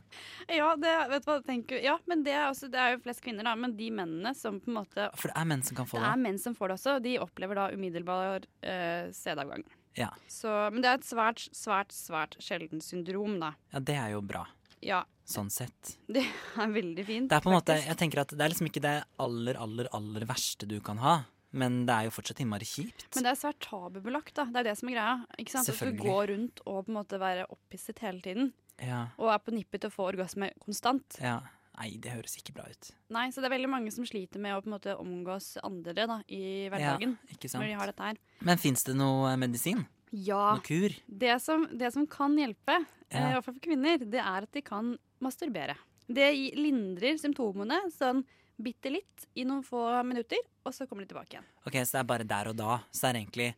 Speaker 22: Ja, det, vet du hva, tenker, ja men det er, også, det er jo flest kvinner, da. Men de mennene som på en måte
Speaker 17: For det er menn som kan få
Speaker 22: Det er menn som får det også, og de opplever da umiddelbar eh, sædavgang.
Speaker 17: Ja.
Speaker 22: Så, men det er et svært, svært, svært sjelden syndrom, da.
Speaker 17: ja, det er jo bra.
Speaker 22: Ja, (laughs)
Speaker 17: Sånn sett.
Speaker 22: det er veldig fint.
Speaker 17: Det er på en måte,
Speaker 22: faktisk.
Speaker 17: jeg tenker at det er liksom ikke det aller, aller, aller verste du kan ha. Men det er jo fortsatt innmari kjipt.
Speaker 22: Men det er svært tabubelagt, da. Det er det som er greia. Ikke sant? At du
Speaker 17: Selvfølgelig.
Speaker 22: går rundt og på en måte være opphisset hele tiden.
Speaker 17: Ja.
Speaker 22: Og er på nippet til å få orgasme konstant.
Speaker 17: ja. Nei, det høres ikke bra ut.
Speaker 22: Nei, så det er veldig mange som sliter med å på en måte omgås andre da, i hverdagen.
Speaker 17: Ja, ikke sant.
Speaker 22: Når de har dette her.
Speaker 17: Men fins det noe eh, medisin?
Speaker 22: Ja.
Speaker 17: Noe kur?
Speaker 22: Det som, det som kan hjelpe,
Speaker 17: Ja.
Speaker 22: eh, i hvert fall for kvinner, det er at de kan masturbere. Det gi- lindrer symptomene sånn bitte litt i noen få minutter, og så kommer de tilbake igjen.
Speaker 17: Ok, Så det er bare der og da. Så det er egentlig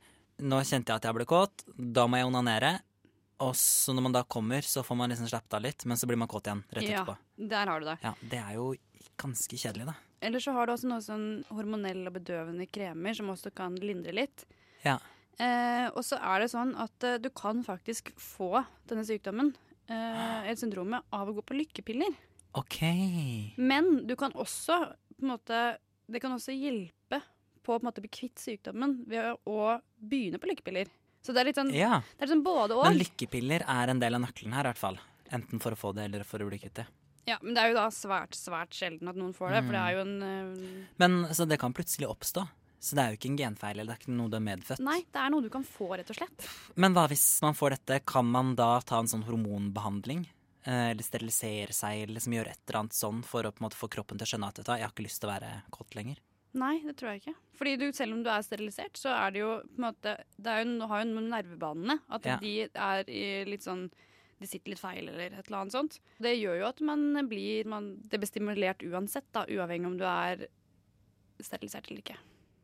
Speaker 17: Nå kjente jeg at jeg ble kåt, da må jeg onanere. Og så når man da kommer, så får man liksom slappet av litt, men så blir man kåt igjen rett
Speaker 22: ja,
Speaker 17: etterpå.
Speaker 22: Der har du det.
Speaker 17: Ja, Det er jo ganske kjedelig, da.
Speaker 22: Eller så har du også noe sånn hormonell og bedøvende kremer som også kan lindre litt.
Speaker 17: Ja.
Speaker 22: Eh, og så er det sånn at eh, du kan faktisk få denne sykdommen, eh, eller syndromet, av å gå på lykkepiller.
Speaker 17: OK.
Speaker 22: Men du kan også på en måte, Det kan også hjelpe på å på en måte bli kvitt sykdommen ved å begynne på lykkepiller. Så det er litt sånn,
Speaker 17: Ja.
Speaker 22: det er litt sånn både og.
Speaker 17: Men lykkepiller er en del av nøkkelen her, i hvert fall. Enten for å få det, eller for å bli kvitt det.
Speaker 22: ja, men det er jo da svært svært sjelden at noen får det,
Speaker 17: Mm.
Speaker 22: for det er jo en øh,
Speaker 17: Men så det kan plutselig oppstå. Så det er jo ikke en genfeil, eller det er ikke noe du er medfødt.
Speaker 22: Nei, det er noe du kan få, rett og slett.
Speaker 17: Men hva hvis man får dette, kan man da ta en sånn hormonbehandling? Eh, Eller sterilisere seg, eller liksom gjøre et eller annet sånn for å på en måte få kroppen til å skjønne at vet du hva, jeg har ikke lyst til å være kåt lenger.
Speaker 22: Nei, det tror jeg ikke. Fordi du, selv om du er sterilisert, så er det jo på en måte Det er jo, du har jo noen nervebanene. At
Speaker 17: Ja.
Speaker 22: de er i litt sånn De sitter litt feil, eller et eller annet sånt. Det gjør jo at man blir man, Det blir stimulert uansett, da. Uavhengig om du er sterilisert eller ikke.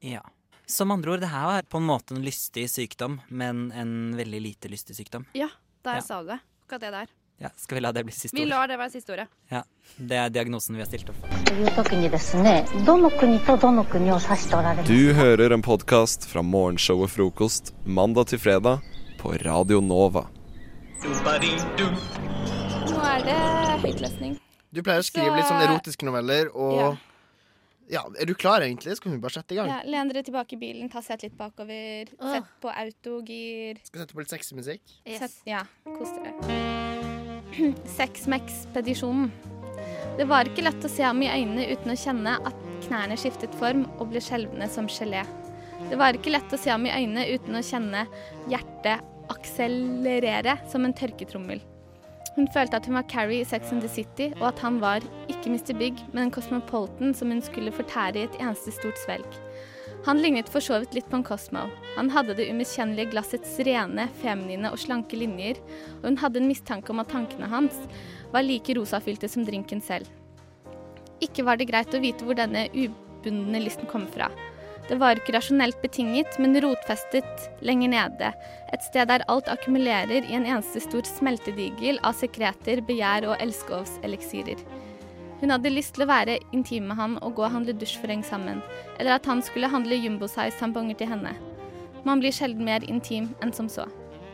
Speaker 17: Ja. Som andre ord, det her var på en måte en lystig sykdom, men en veldig lite lystig sykdom.
Speaker 22: Ja, der
Speaker 17: Ja.
Speaker 22: sa du det. Akkurat det der.
Speaker 17: Ja, skal vi la det bli siste
Speaker 22: Vi
Speaker 17: ord?
Speaker 22: lar det være siste ordet.
Speaker 17: Ja, Det er diagnosen vi har stilt opp.
Speaker 23: という時にですねどの国とどの国を指しておられます
Speaker 6: Du hører en podkast fra morgenshowet Frokost mandag til fredag på Radio Nova.
Speaker 24: Nå er det høytlesning.
Speaker 7: Du pleier å skrive
Speaker 24: Så-
Speaker 7: litt
Speaker 25: eh,
Speaker 7: sånn erotiske noveller, og ja. Er du klar, egentlig? Skal vi bare sette i gang?
Speaker 24: Ja, len dere tilbake i bilen, ta sett litt bakover. Sett på autogir.
Speaker 7: Skal vi sette på litt sexy musikk?
Speaker 24: Sett, ja, kos dere. Sexmex-pedisjonen. Det var ikke lett å se ham i øynene uten å kjenne at knærne skiftet form og ble skjelvende som gelé. Det var ikke lett å se ham i øynene uten å kjenne hjertet akselerere som en tørketrommel. Hun følte at hun var Carrie i Sex and the City, og at han var ikke Mr. Big, men en Cosmopolitan som hun skulle fortære i et eneste stort svelg. Han lignet for så vidt litt på en Cosmo. Han hadde det umiskjennelige glassets rene, feminine og slanke linjer, og hun hadde en mistanke om at tankene hans var like rosafylte som drinken selv. Ikke var det greit å vite hvor denne ubundne lysten kom fra. Det var ikke rasjonelt betinget, men rotfestet lenger nede. Et sted der alt akkumulerer i en eneste stor smeltedigel av sekreter, begjær og elskovseliksirer. Hun hadde lyst til å være intim med han og gå og handle dusjforheng sammen, eller at han skulle handle jumbo-size-tamponger til henne. Man blir sjelden mer intim enn som så.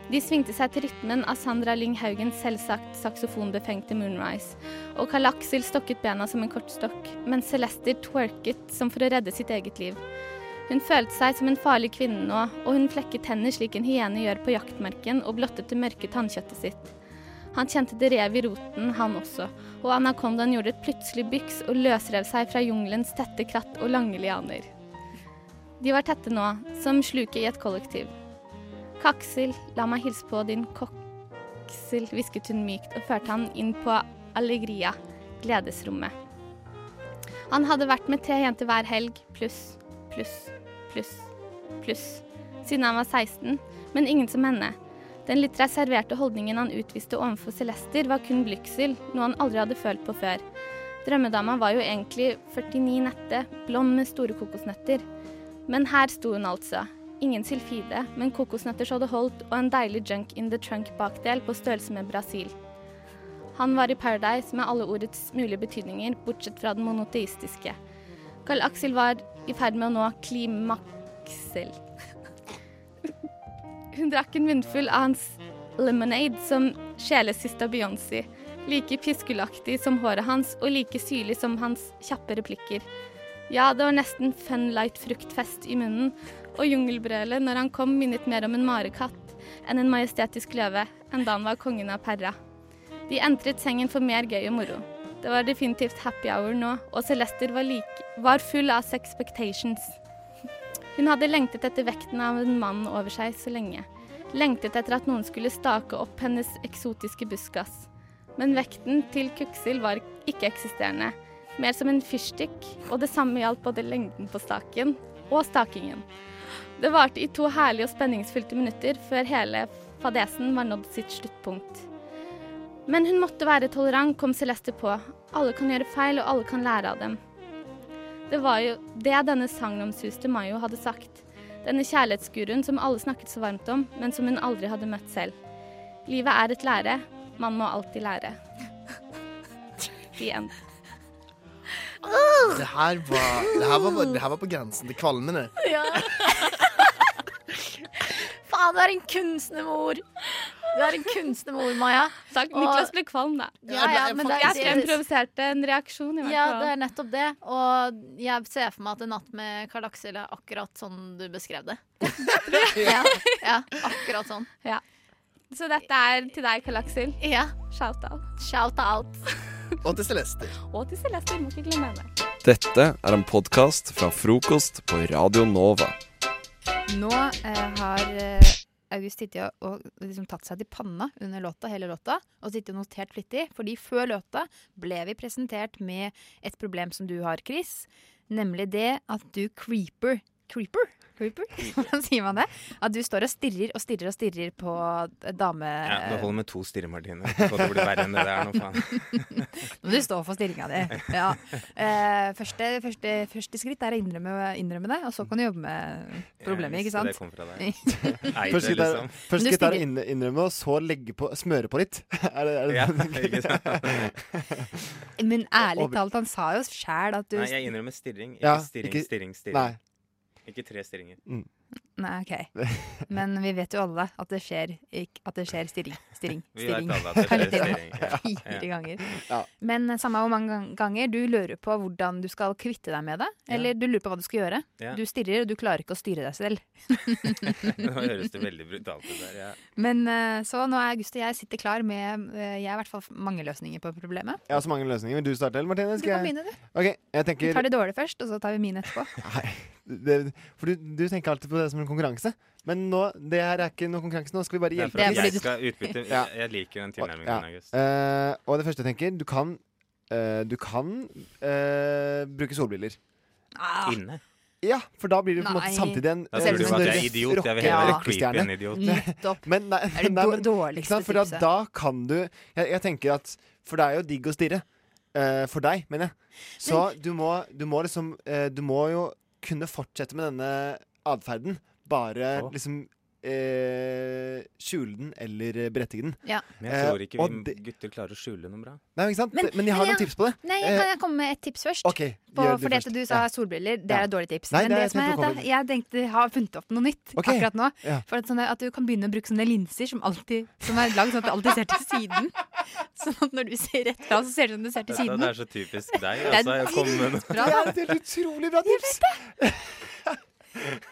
Speaker 24: De svingte seg til rytmen av Sandra Lyng Haugens selvsagt saksofonbefengte Moonrise, og Karl Aksel stokket bena som en kortstokk, mens Celester twerket som for å redde sitt eget liv. Hun følte seg som en farlig kvinne nå, og hun flekket tenner slik en hyene gjør på jaktmarken, og blottet det mørke tannkjøttet sitt. Han kjente det rev i roten, han også, og anakondaen gjorde et plutselig byks og løsrev seg fra jungelens tette kratt og lange lianer. De var tette nå, som sluket i et kollektiv. Kaksel, la meg hilse på din koksel, hvisket hun mykt og førte han inn på Allegria, gledesrommet. Han hadde vært med tre jenter hver helg, pluss, pluss, pluss, pluss, siden han var 16, men ingen som henne. Den litt reserverte holdningen han utviste overfor Celester, var kun blygsel, noe han aldri hadde følt på før. Drømmedama var jo egentlig 49 nette, blond med store kokosnøtter. Men her sto hun altså. Ingen sylfide, men kokosnøtter så det holdt, og en deilig junk in the trunk-bakdel på størrelse med Brasil. Han var i paradise med alle ordets mulige betydninger, bortsett fra den monoteistiske. Carl Axel var i ferd med å nå klimaksel. (laughs) Hun drakk en munnfull av hans lemonade som sjelesista Beyoncé. Like piskulaktig som håret hans, og like syrlig som hans kjappe replikker. Ja, det var nesten funlight-fruktfest i munnen, og jungelbrølet når han kom minnet mer om en marekatt enn en majestetisk løve, enn da han var kongen av Perra. De entret sengen for mer gøy og moro. Det var definitivt happy hour nå, og Celester var, lik, var full av sexpectations. Hun hadde lengtet etter vekten av en mann over seg så lenge. Lengtet etter at noen skulle stake opp hennes eksotiske buskas. Men vekten til Kuksel var ikke-eksisterende. Mer som en fyrstikk, og det samme gjaldt både lengden på staken og stakingen. Det varte i to herlige og spenningsfylte minutter før hele fadesen var nådd sitt sluttpunkt. Men hun måtte være tolerant, kom Celeste på. Alle kan gjøre feil, og alle kan lære av dem. Det var jo det denne sagnomsuste Mayo hadde sagt. Denne kjærlighetsguruen som alle snakket så varmt om, men som hun aldri hadde møtt selv. Livet er et lære. Man må alltid lære. (laughs) The end.
Speaker 7: Det her var, det her var, det her var på grensen til kvalmende.
Speaker 25: Ja. Faen, du er en kunstnermor. Du er en kunstnermor, Maja.
Speaker 24: Takk. Niklas ble kvalm, da.
Speaker 25: Ja, ja, men det er
Speaker 24: jeg fremprovoserte en reaksjon, i hvert
Speaker 25: Ja,
Speaker 24: fall.
Speaker 25: det er nettopp det. Og jeg ser for meg at en natt med Karl Aksel er akkurat sånn du beskrev
Speaker 24: (laughs)
Speaker 25: det. ja, ja, akkurat sånn.
Speaker 24: Ja. Så dette er til deg, Karl Aksel.
Speaker 25: Ja.
Speaker 24: Shout-out. (laughs)
Speaker 7: Og til Celeste.
Speaker 24: Og til Celeste. Må ikke glemme henne.
Speaker 6: Dette er en podkast fra frokost på Radio Nova.
Speaker 8: Nå eh, har eh, August sittet og, og liksom tatt seg til panna under låta, hele låta, og sittet og notert flittig. Fordi før låta ble vi presentert med et problem som du har, Chris. Nemlig det at du creeper Creeper? Creeper? (laughs) Hvordan sier man det? At du står og stirrer og stirrer og stirrer på dame...
Speaker 1: Ja, det holder med to stirre, Martine. Så det blir verre enn det
Speaker 11: (laughs)
Speaker 1: der nå, faen.
Speaker 8: Nå må du stå for stillinga di. Ja. Eh, første, første, første skritt er å innrømme, innrømme det, og så kan du jobbe med problemet. ikke sant?
Speaker 1: Ja, jeg visste det
Speaker 8: (laughs)
Speaker 1: kom fra
Speaker 11: (laughs)
Speaker 1: deg. Eide,
Speaker 8: Først skritt
Speaker 1: Først skritt
Speaker 8: er-
Speaker 1: liksom.
Speaker 7: Først
Speaker 8: Men
Speaker 7: skritt
Speaker 8: du
Speaker 7: er å
Speaker 8: stiller-
Speaker 7: inn- innrømme, og så legge på, smøre på
Speaker 11: (laughs)
Speaker 7: litt. er det, er det
Speaker 1: Ja, ikke sant?
Speaker 8: Men
Speaker 11: (laughs)
Speaker 8: ærlig
Speaker 7: Over-
Speaker 8: talt, han sa jo sjæl at du
Speaker 1: Nei, jeg innrømmer stirring. Ikke
Speaker 7: Ja,
Speaker 1: stirring,
Speaker 7: ikke-
Speaker 1: stirring, stirring.
Speaker 7: nei. Mm.
Speaker 1: Ikke tre stirringer.
Speaker 8: Nei, ok. Men vi vet jo alle at det skjer, ikk- at det skjer stirring. Stirring.
Speaker 1: (laughs) Vi vet
Speaker 8: stirring.
Speaker 1: alle at det
Speaker 8: (laughs)
Speaker 1: skjer
Speaker 8: Perletter,
Speaker 1: stirring, ja.
Speaker 8: Fire
Speaker 1: Ja.
Speaker 8: ganger.
Speaker 7: Ja.
Speaker 8: Men eh, samme hvor mange gang- ganger, du lurer på hvordan du skal kvitte deg med det. Eller du lurer på hva du skal gjøre.
Speaker 1: Ja.
Speaker 8: Du stirrer, og du klarer ikke å styre deg selv.
Speaker 1: (laughs) Nå høres det veldig brutalt ut der. Ja.
Speaker 8: Men eh, så nå er August og jeg sitter klar med eh, Jeg har i hvert fall mange løsninger på problemet.
Speaker 7: Jeg har så mange løsninger. Vil du starte, eller Martine?
Speaker 8: Du kan begynne, du.
Speaker 7: Ok, jeg
Speaker 8: Vi
Speaker 7: tenker
Speaker 8: tar det dårlige først, og så tar vi mine etterpå.
Speaker 7: det, For du, du tenker alltid på det som en konkurranse. Men nå, det her er ikke noe konkurranse. Nå skal vi bare
Speaker 1: Det er for
Speaker 7: hjelpe
Speaker 1: at
Speaker 7: til.
Speaker 1: jeg skal utbytte
Speaker 7: Ja.
Speaker 1: Jeg, jeg liker den tilnærmingen
Speaker 7: Ja.
Speaker 1: din, August.
Speaker 7: Eh, og det første jeg tenker, du kan eh, Du kan eh, bruke solbriller.
Speaker 1: Inne?
Speaker 7: Ja, for da blir du på en
Speaker 1: Ah. Nei.
Speaker 7: måte samtidig en eh,
Speaker 1: Da sier du jo at jeg er idiot. Jeg vil heller være creepy enn idiot.
Speaker 7: Nettopp. (laughs) Men nei,
Speaker 1: Det er det
Speaker 7: nei, men,
Speaker 1: dårligste
Speaker 7: ikke sant, for da,
Speaker 1: tipset.
Speaker 7: da kan du jeg, jeg tenker at For det er jo digg å stirre. Eh, for deg, mener jeg. Så du, må, du må liksom eh, Du må jo kunne fortsette med denne atferden. Bare liksom eh, skjule den eller berettige den.
Speaker 8: Ja.
Speaker 1: Men jeg tror
Speaker 7: Eh,
Speaker 1: ikke
Speaker 7: og
Speaker 1: vi gutter klarer å skjule noe bra.
Speaker 7: Nei, ikke sant? Men, jeg har noen tips på det.
Speaker 8: Nei,
Speaker 7: Eh,
Speaker 8: kan jeg komme med et tips først?
Speaker 7: ok,
Speaker 8: På,
Speaker 7: gjør det
Speaker 8: for det at
Speaker 7: først.
Speaker 8: du sa
Speaker 7: Ja.
Speaker 8: solbriller, det
Speaker 7: Ja.
Speaker 8: er et dårlig tips.
Speaker 7: Nei,
Speaker 8: Men
Speaker 7: det
Speaker 8: det,
Speaker 7: er
Speaker 8: som er
Speaker 7: helt
Speaker 8: at jeg,
Speaker 7: ok.
Speaker 8: jeg tenkte jeg har funnet opp noe nytt
Speaker 7: Ok.
Speaker 8: akkurat nå.
Speaker 7: Ja.
Speaker 8: For at, sånn at du kan begynne å bruke sånne linser som, alltid, som er lagd sånn at du alltid ser til siden. (laughs) Sånn at når du ser rett fra, så ser det ut som du ser til
Speaker 1: Dette,
Speaker 8: siden.
Speaker 1: det er så typisk deg,
Speaker 8: Det er
Speaker 1: altså. Jeg kom med noe.
Speaker 7: (laughs)
Speaker 8: dritbra.
Speaker 7: Det er et helt utrolig bra tips!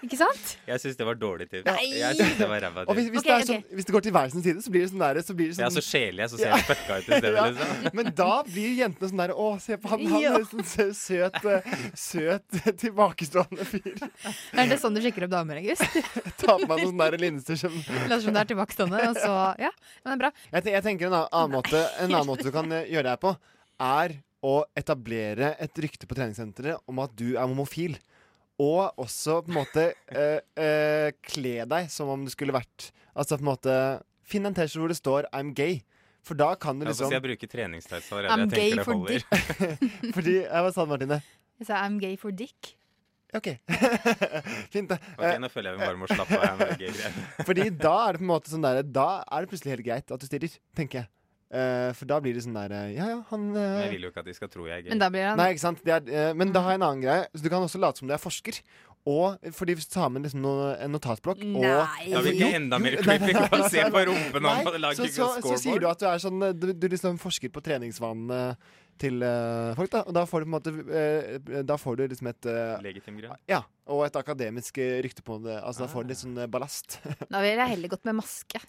Speaker 8: Ikke sant?
Speaker 1: (laughs) Jeg syns det var dårlig tips.
Speaker 7: Nei.
Speaker 1: Jeg synes det var ræva
Speaker 7: Eh, Og hvis,
Speaker 1: tips.
Speaker 7: hvis, det er sånn, hvis det går til hver sin side, så blir det sånn der, så blir det
Speaker 1: Jeg
Speaker 7: sånn
Speaker 1: er så sjelig, jeg, så ser
Speaker 7: Ja.
Speaker 1: jeg fucka ut i
Speaker 7: (laughs)
Speaker 1: stedet,
Speaker 7: Ja,
Speaker 1: liksom.
Speaker 7: Men da blir jentene sånn der Å, se på han, han
Speaker 8: Ja.
Speaker 7: er sånn sø- søt, eh, søt (laughs) eh, tilbakestående fyr.
Speaker 8: Er det sånn du sjekker opp damer, August? (laughs)
Speaker 7: Ta på meg noen sånne der linser som
Speaker 8: Later som det er tilbakestående, og så Ja, men det er bra.
Speaker 7: Jeg, te- jeg tenker en annen, annen måte, en annen måte du kan eh, gjøre det her på, er å etablere et rykte på treningssenteret om at du er homofil. Og også på en måte eh, eh, kle deg som om du skulle vært Altså på en måte Finn en T-skjorte hvor det står 'I'm gay'. For da kan du
Speaker 1: Ja, så
Speaker 7: liksom
Speaker 1: skal jeg bruke treningstights
Speaker 8: I'm
Speaker 1: allerede. Jeg tenker
Speaker 8: gay
Speaker 1: det
Speaker 8: for
Speaker 1: holder.
Speaker 7: (laughs) Fordi eh, Hva sa du, Martine?
Speaker 8: Jeg sa I'm gay for dick.
Speaker 7: OK. Fint, det.
Speaker 1: Ok, nå føler jeg vi bare må slappe av. her med gay-greier.
Speaker 7: (laughs) Fordi da er det på en måte sånn der Da er det plutselig helt greit at du stirrer, tenker jeg. Eh, for da blir det sånn der eh, Ja, ja, han eh,
Speaker 1: Men jeg vil jo ikke at de skal tro jeg er gay.
Speaker 7: Nei, ikke sant? Det er, eh, men da har jeg en annen greie. Så Du kan også late som du er forsker. Og fordi hvis du tar med liksom noe, en notatblokk og
Speaker 1: Nei. Da blir det
Speaker 7: Jo,
Speaker 1: enda mer
Speaker 7: jo,
Speaker 1: creepy.
Speaker 7: nei, nei, nei,
Speaker 1: Du kan se
Speaker 7: nei,
Speaker 1: på rumpen
Speaker 7: nei,
Speaker 1: og lage
Speaker 7: så,
Speaker 1: ikke
Speaker 7: så,
Speaker 1: noe
Speaker 7: så sier
Speaker 1: scoreboard.
Speaker 7: du at du er sånn eh, Du, du liksom forsker på treningsvanene til eh, folk, da. Og da får du på en måte eh, Da får du liksom et eh,
Speaker 1: Legitim grunn.
Speaker 7: Ja. Og et akademisk eh, rykte på det. Altså da får du litt sånn eh, ballast. (laughs)
Speaker 8: Da ville jeg heller gått med maske.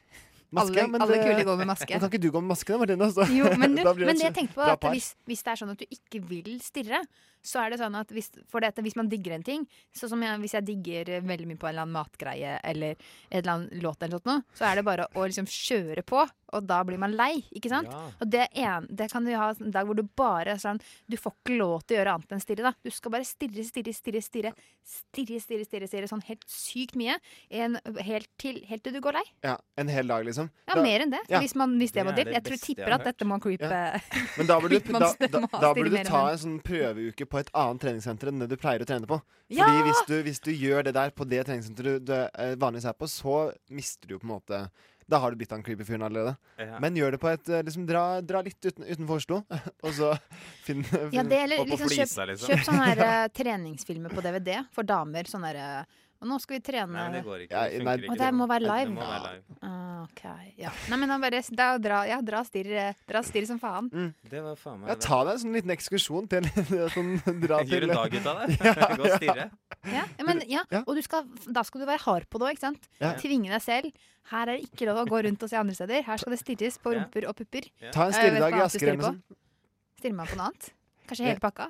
Speaker 7: Maske,
Speaker 8: alle
Speaker 7: men
Speaker 8: alle
Speaker 7: det-
Speaker 8: kule går med maske.
Speaker 7: Men (laughs) kan ikke du gå med maske, da, Martine? Altså?
Speaker 8: Jo,
Speaker 7: (laughs)
Speaker 8: men, du,
Speaker 7: Da blir det
Speaker 8: men
Speaker 7: et
Speaker 8: det jeg tenkte på
Speaker 7: bra
Speaker 8: er at
Speaker 7: par.
Speaker 8: hvis, hvis det er sånn at du ikke vil stirre, så er det sånn at hvis, for det, at hvis man digger en ting Sånn som jeg, hvis jeg digger eh, veldig mye på en eller annen matgreie eller et eller annet låt, eller sånt noe, så er det bare å liksom kjøre på, og da blir man lei. ikke sant?
Speaker 7: Ja.
Speaker 8: Og det, en, det kan du ha en dag hvor du bare er sånn Du får ikke lov til å gjøre annet enn stirre. da. Du skal bare stirre, stirre, stirre, stirre, stirre, stirre, stirre, stirre sånn helt sykt mye. En, helt, til, helt til du går lei.
Speaker 7: Ja, En hel dag, liksom?
Speaker 8: Ja,
Speaker 7: Da-
Speaker 8: mer enn det.
Speaker 7: Ja.
Speaker 8: Hvis, man, hvis det,
Speaker 7: Det
Speaker 8: var
Speaker 7: er
Speaker 8: ditt.
Speaker 7: det
Speaker 8: Jeg tror
Speaker 7: beste jeg
Speaker 8: tipper
Speaker 7: har
Speaker 8: at dette må creepe (laughs)
Speaker 7: Men da burde du,
Speaker 8: Man
Speaker 7: da,
Speaker 8: stemmer
Speaker 7: da,
Speaker 8: og
Speaker 7: da
Speaker 8: stiller
Speaker 7: burde
Speaker 8: mer
Speaker 7: du ta
Speaker 8: enn-
Speaker 7: en sånn prøveuke på et annet treningssenter enn det du pleier å trene på. Fordi
Speaker 8: Ja!
Speaker 7: hvis, du, hvis du gjør det der på det treningssenteret du, du eh, vanligvis er på, så mister du jo på en måte Da har du blitt han creepy fyren allerede.
Speaker 1: Ja.
Speaker 7: Men gjør det på et eh, liksom, dra, dra litt uten, utenfor Oslo, (laughs) og så finn (laughs)
Speaker 8: Ja, det eller liksom, kjøp, kjøp sånne her,
Speaker 7: Ja.
Speaker 8: eh, treningsfilmer på DVD for damer. Sånn her eh, Og nå skal vi trene
Speaker 1: (laughs) Nei, men det går ikke.
Speaker 7: Ja, nei,
Speaker 1: Det funker ikke.
Speaker 8: Og det må være live.
Speaker 1: Det må være live.
Speaker 8: Ah, ok, ja. Nei, men da bare da, dra, ja, dra stirr eh, dra stirr som faen.
Speaker 7: Mm.
Speaker 1: Det var faen meg
Speaker 7: Ja, ta deg en sånn liten ekskursjon til (laughs) sånn, dra
Speaker 1: Gjør
Speaker 7: til
Speaker 1: en dag ut av
Speaker 7: (laughs)
Speaker 1: det. (laughs)
Speaker 7: Ja,
Speaker 1: Gå og
Speaker 7: ja.
Speaker 1: stirre.
Speaker 8: Ja, ja, men, ja. Og du skal, da skal du være hard på det òg, ikke sant?
Speaker 7: Ja.
Speaker 8: Tvinge deg selv. Her er det ikke lov å gå rundt og se andre steder. Her skal det stirres på
Speaker 7: Ja.
Speaker 8: rumper og pupper.
Speaker 7: Ja. Ta en
Speaker 8: Eh, vet
Speaker 7: stirredag i sånn.
Speaker 8: du hva annet du
Speaker 7: Asker eller
Speaker 8: stirrer
Speaker 7: noe
Speaker 8: på? Stirrer meg på noe annet? Kanskje hele pakka?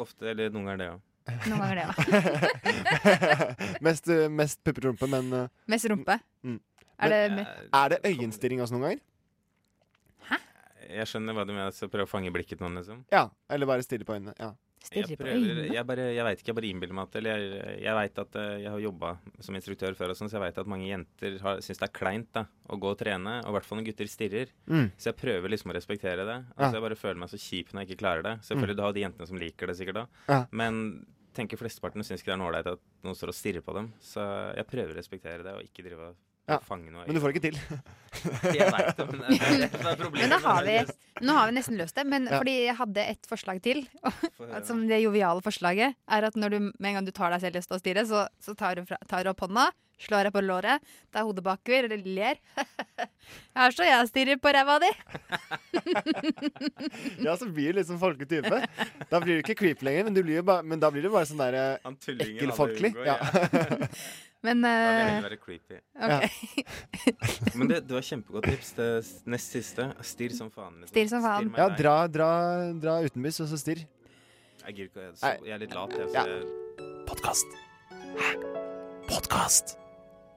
Speaker 1: Ofte, eller noen ganger det òg.
Speaker 8: Noen ganger det
Speaker 1: (laughs)
Speaker 7: (laughs)
Speaker 8: òg.
Speaker 7: mest, eh, mest pupper og rumpe, men eh,
Speaker 8: Mest rumpe.
Speaker 7: mm.
Speaker 8: Er det
Speaker 7: Men, er det øyenstirring også noen ganger?
Speaker 1: Jeg skjønner hva du mener, så prøv å fange blikket noen, liksom.
Speaker 7: Ja, eller bare stirre på øynene. Ja.
Speaker 1: Jeg prøver, jeg, bare, jeg vet ikke, jeg bare innbiller meg at Eller jeg, jeg vet at eh, jeg har jobba som instruktør før, og sånn, så jeg vet at mange jenter har- syns det er kleint da, å gå og trene. Og i hvert fall når gutter stirrer.
Speaker 7: Mm.
Speaker 1: Så jeg prøver liksom å respektere det.
Speaker 7: Ja. Mm.
Speaker 1: Altså, jeg bare føler meg så kjip når jeg ikke klarer det. Selvfølgelig, du har de jentene som liker det sikkert da,
Speaker 7: Ja.
Speaker 1: men tenker flesteparten syns ikke det er noe ålreit at noen står og stirrer på dem. Så jeg prøver å respektere det, og ikke drive og
Speaker 7: Ja,
Speaker 1: fange noe.
Speaker 7: men du får det ikke til.
Speaker 1: jeg vet (laughs) det, men det er det som er problemet.
Speaker 7: (laughs)
Speaker 8: Men da har vi,
Speaker 1: Det er just-
Speaker 8: nå har vi nesten løst det. Men
Speaker 1: Ja.
Speaker 8: fordi jeg hadde et forslag til,
Speaker 1: høre.
Speaker 8: som det joviale forslaget, er at når du, med en gang du tar deg selv i å stå og stirre, så, så tar, du fra, tar du opp hånda, slår deg på låret, tar hodet bakover, eller ler. (laughs) Her står jeg og stirrer på ræva di!
Speaker 7: (laughs) Ja, så blir du liksom folkelig type. Da blir du ikke creep lenger, men, du blir jo bare, men da blir du bare sånn der eh,
Speaker 1: tullingen
Speaker 7: ekkel
Speaker 1: alle
Speaker 7: folkelig.
Speaker 1: unngår,
Speaker 7: Ja.
Speaker 1: (laughs)
Speaker 8: (laughs) Men
Speaker 1: Da vil jeg
Speaker 8: eh,
Speaker 1: heller være creepy.
Speaker 8: ok.
Speaker 1: (laughs) Men det, det var kjempegodt tips. Det s- nest siste. Stirr som faen. liksom.
Speaker 8: (laughs) Stirr som faen.
Speaker 1: meg
Speaker 7: Ja,
Speaker 1: nei.
Speaker 7: dra, dra, dra utenbys, og så stirr.
Speaker 1: Jeg gir ikke å
Speaker 7: Nei.
Speaker 1: så- Jeg er litt lat, jeg. Så
Speaker 7: Ja.
Speaker 1: jeg
Speaker 6: Podkast. Podkast.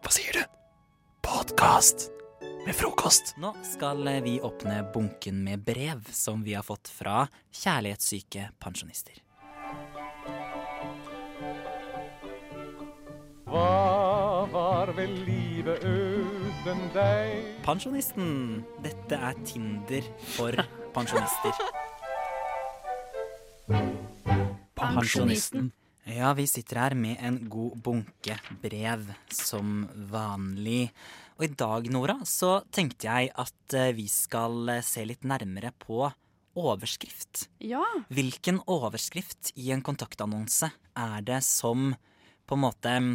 Speaker 6: Hva sier du? Podkast med frokost.
Speaker 17: Nå skal eh, vi åpne bunken med brev som vi har fått fra kjærlighetssyke pensjonister.
Speaker 3: Hva var vel livet uten deg?
Speaker 17: Pensjonisten. Dette er Tinder for pensjonister.
Speaker 3: (laughs)
Speaker 17: Pensjonisten. Ja, vi sitter her med en god bunke brev, som vanlig. Og i dag, Nora, så tenkte jeg at eh, vi skal eh, se litt nærmere på overskrift.
Speaker 22: Ja.
Speaker 17: Hvilken overskrift i en kontaktannonse er det som på en måte mm,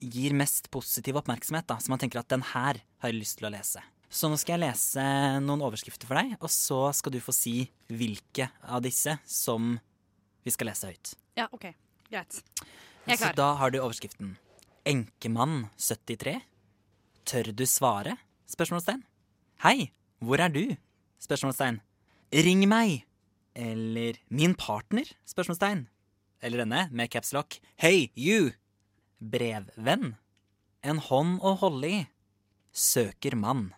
Speaker 17: gir mest positiv oppmerksomhet, da, så man tenker at den her har jeg lyst til å lese. Så nå skal jeg lese noen overskrifter for deg, og så skal du få si hvilke av disse som vi skal lese høyt.
Speaker 22: Ja, OK. Greit. Jeg er
Speaker 17: Så
Speaker 22: klar.
Speaker 17: da har du overskriften 'Enkemann 73'. Tør du svare? Spørsmålstegn. Hei, hvor er du? Spørsmålstegn. Ring meg! Eller min partner? Spørsmålstegn. Eller denne, med caps lock. Hey, you! Brevvenn. En hånd å holde i. Søker mann.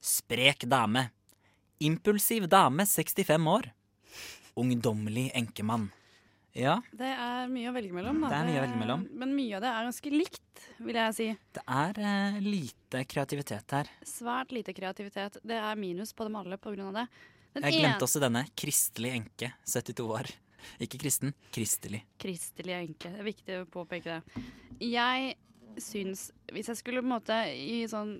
Speaker 17: Sprek dame. Impulsiv dame, 65 år. Ungdommelig enkemann. Ja,
Speaker 22: Det er mye å velge mellom. Da.
Speaker 17: Det er mye å velge mellom.
Speaker 22: Men mye av det er ganske likt, vil jeg si.
Speaker 17: det er eh, lite kreativitet her.
Speaker 22: Svært lite kreativitet. Det er minus på dem alle på grunn av det. Den
Speaker 17: Jeg glemte
Speaker 22: en-
Speaker 17: også denne. Kristelig enke, 72 år. Ikke kristen, kristelig.
Speaker 22: Kristelig enke. Det er viktig å påpeke det. Jeg syns Hvis jeg skulle på en måte i sånn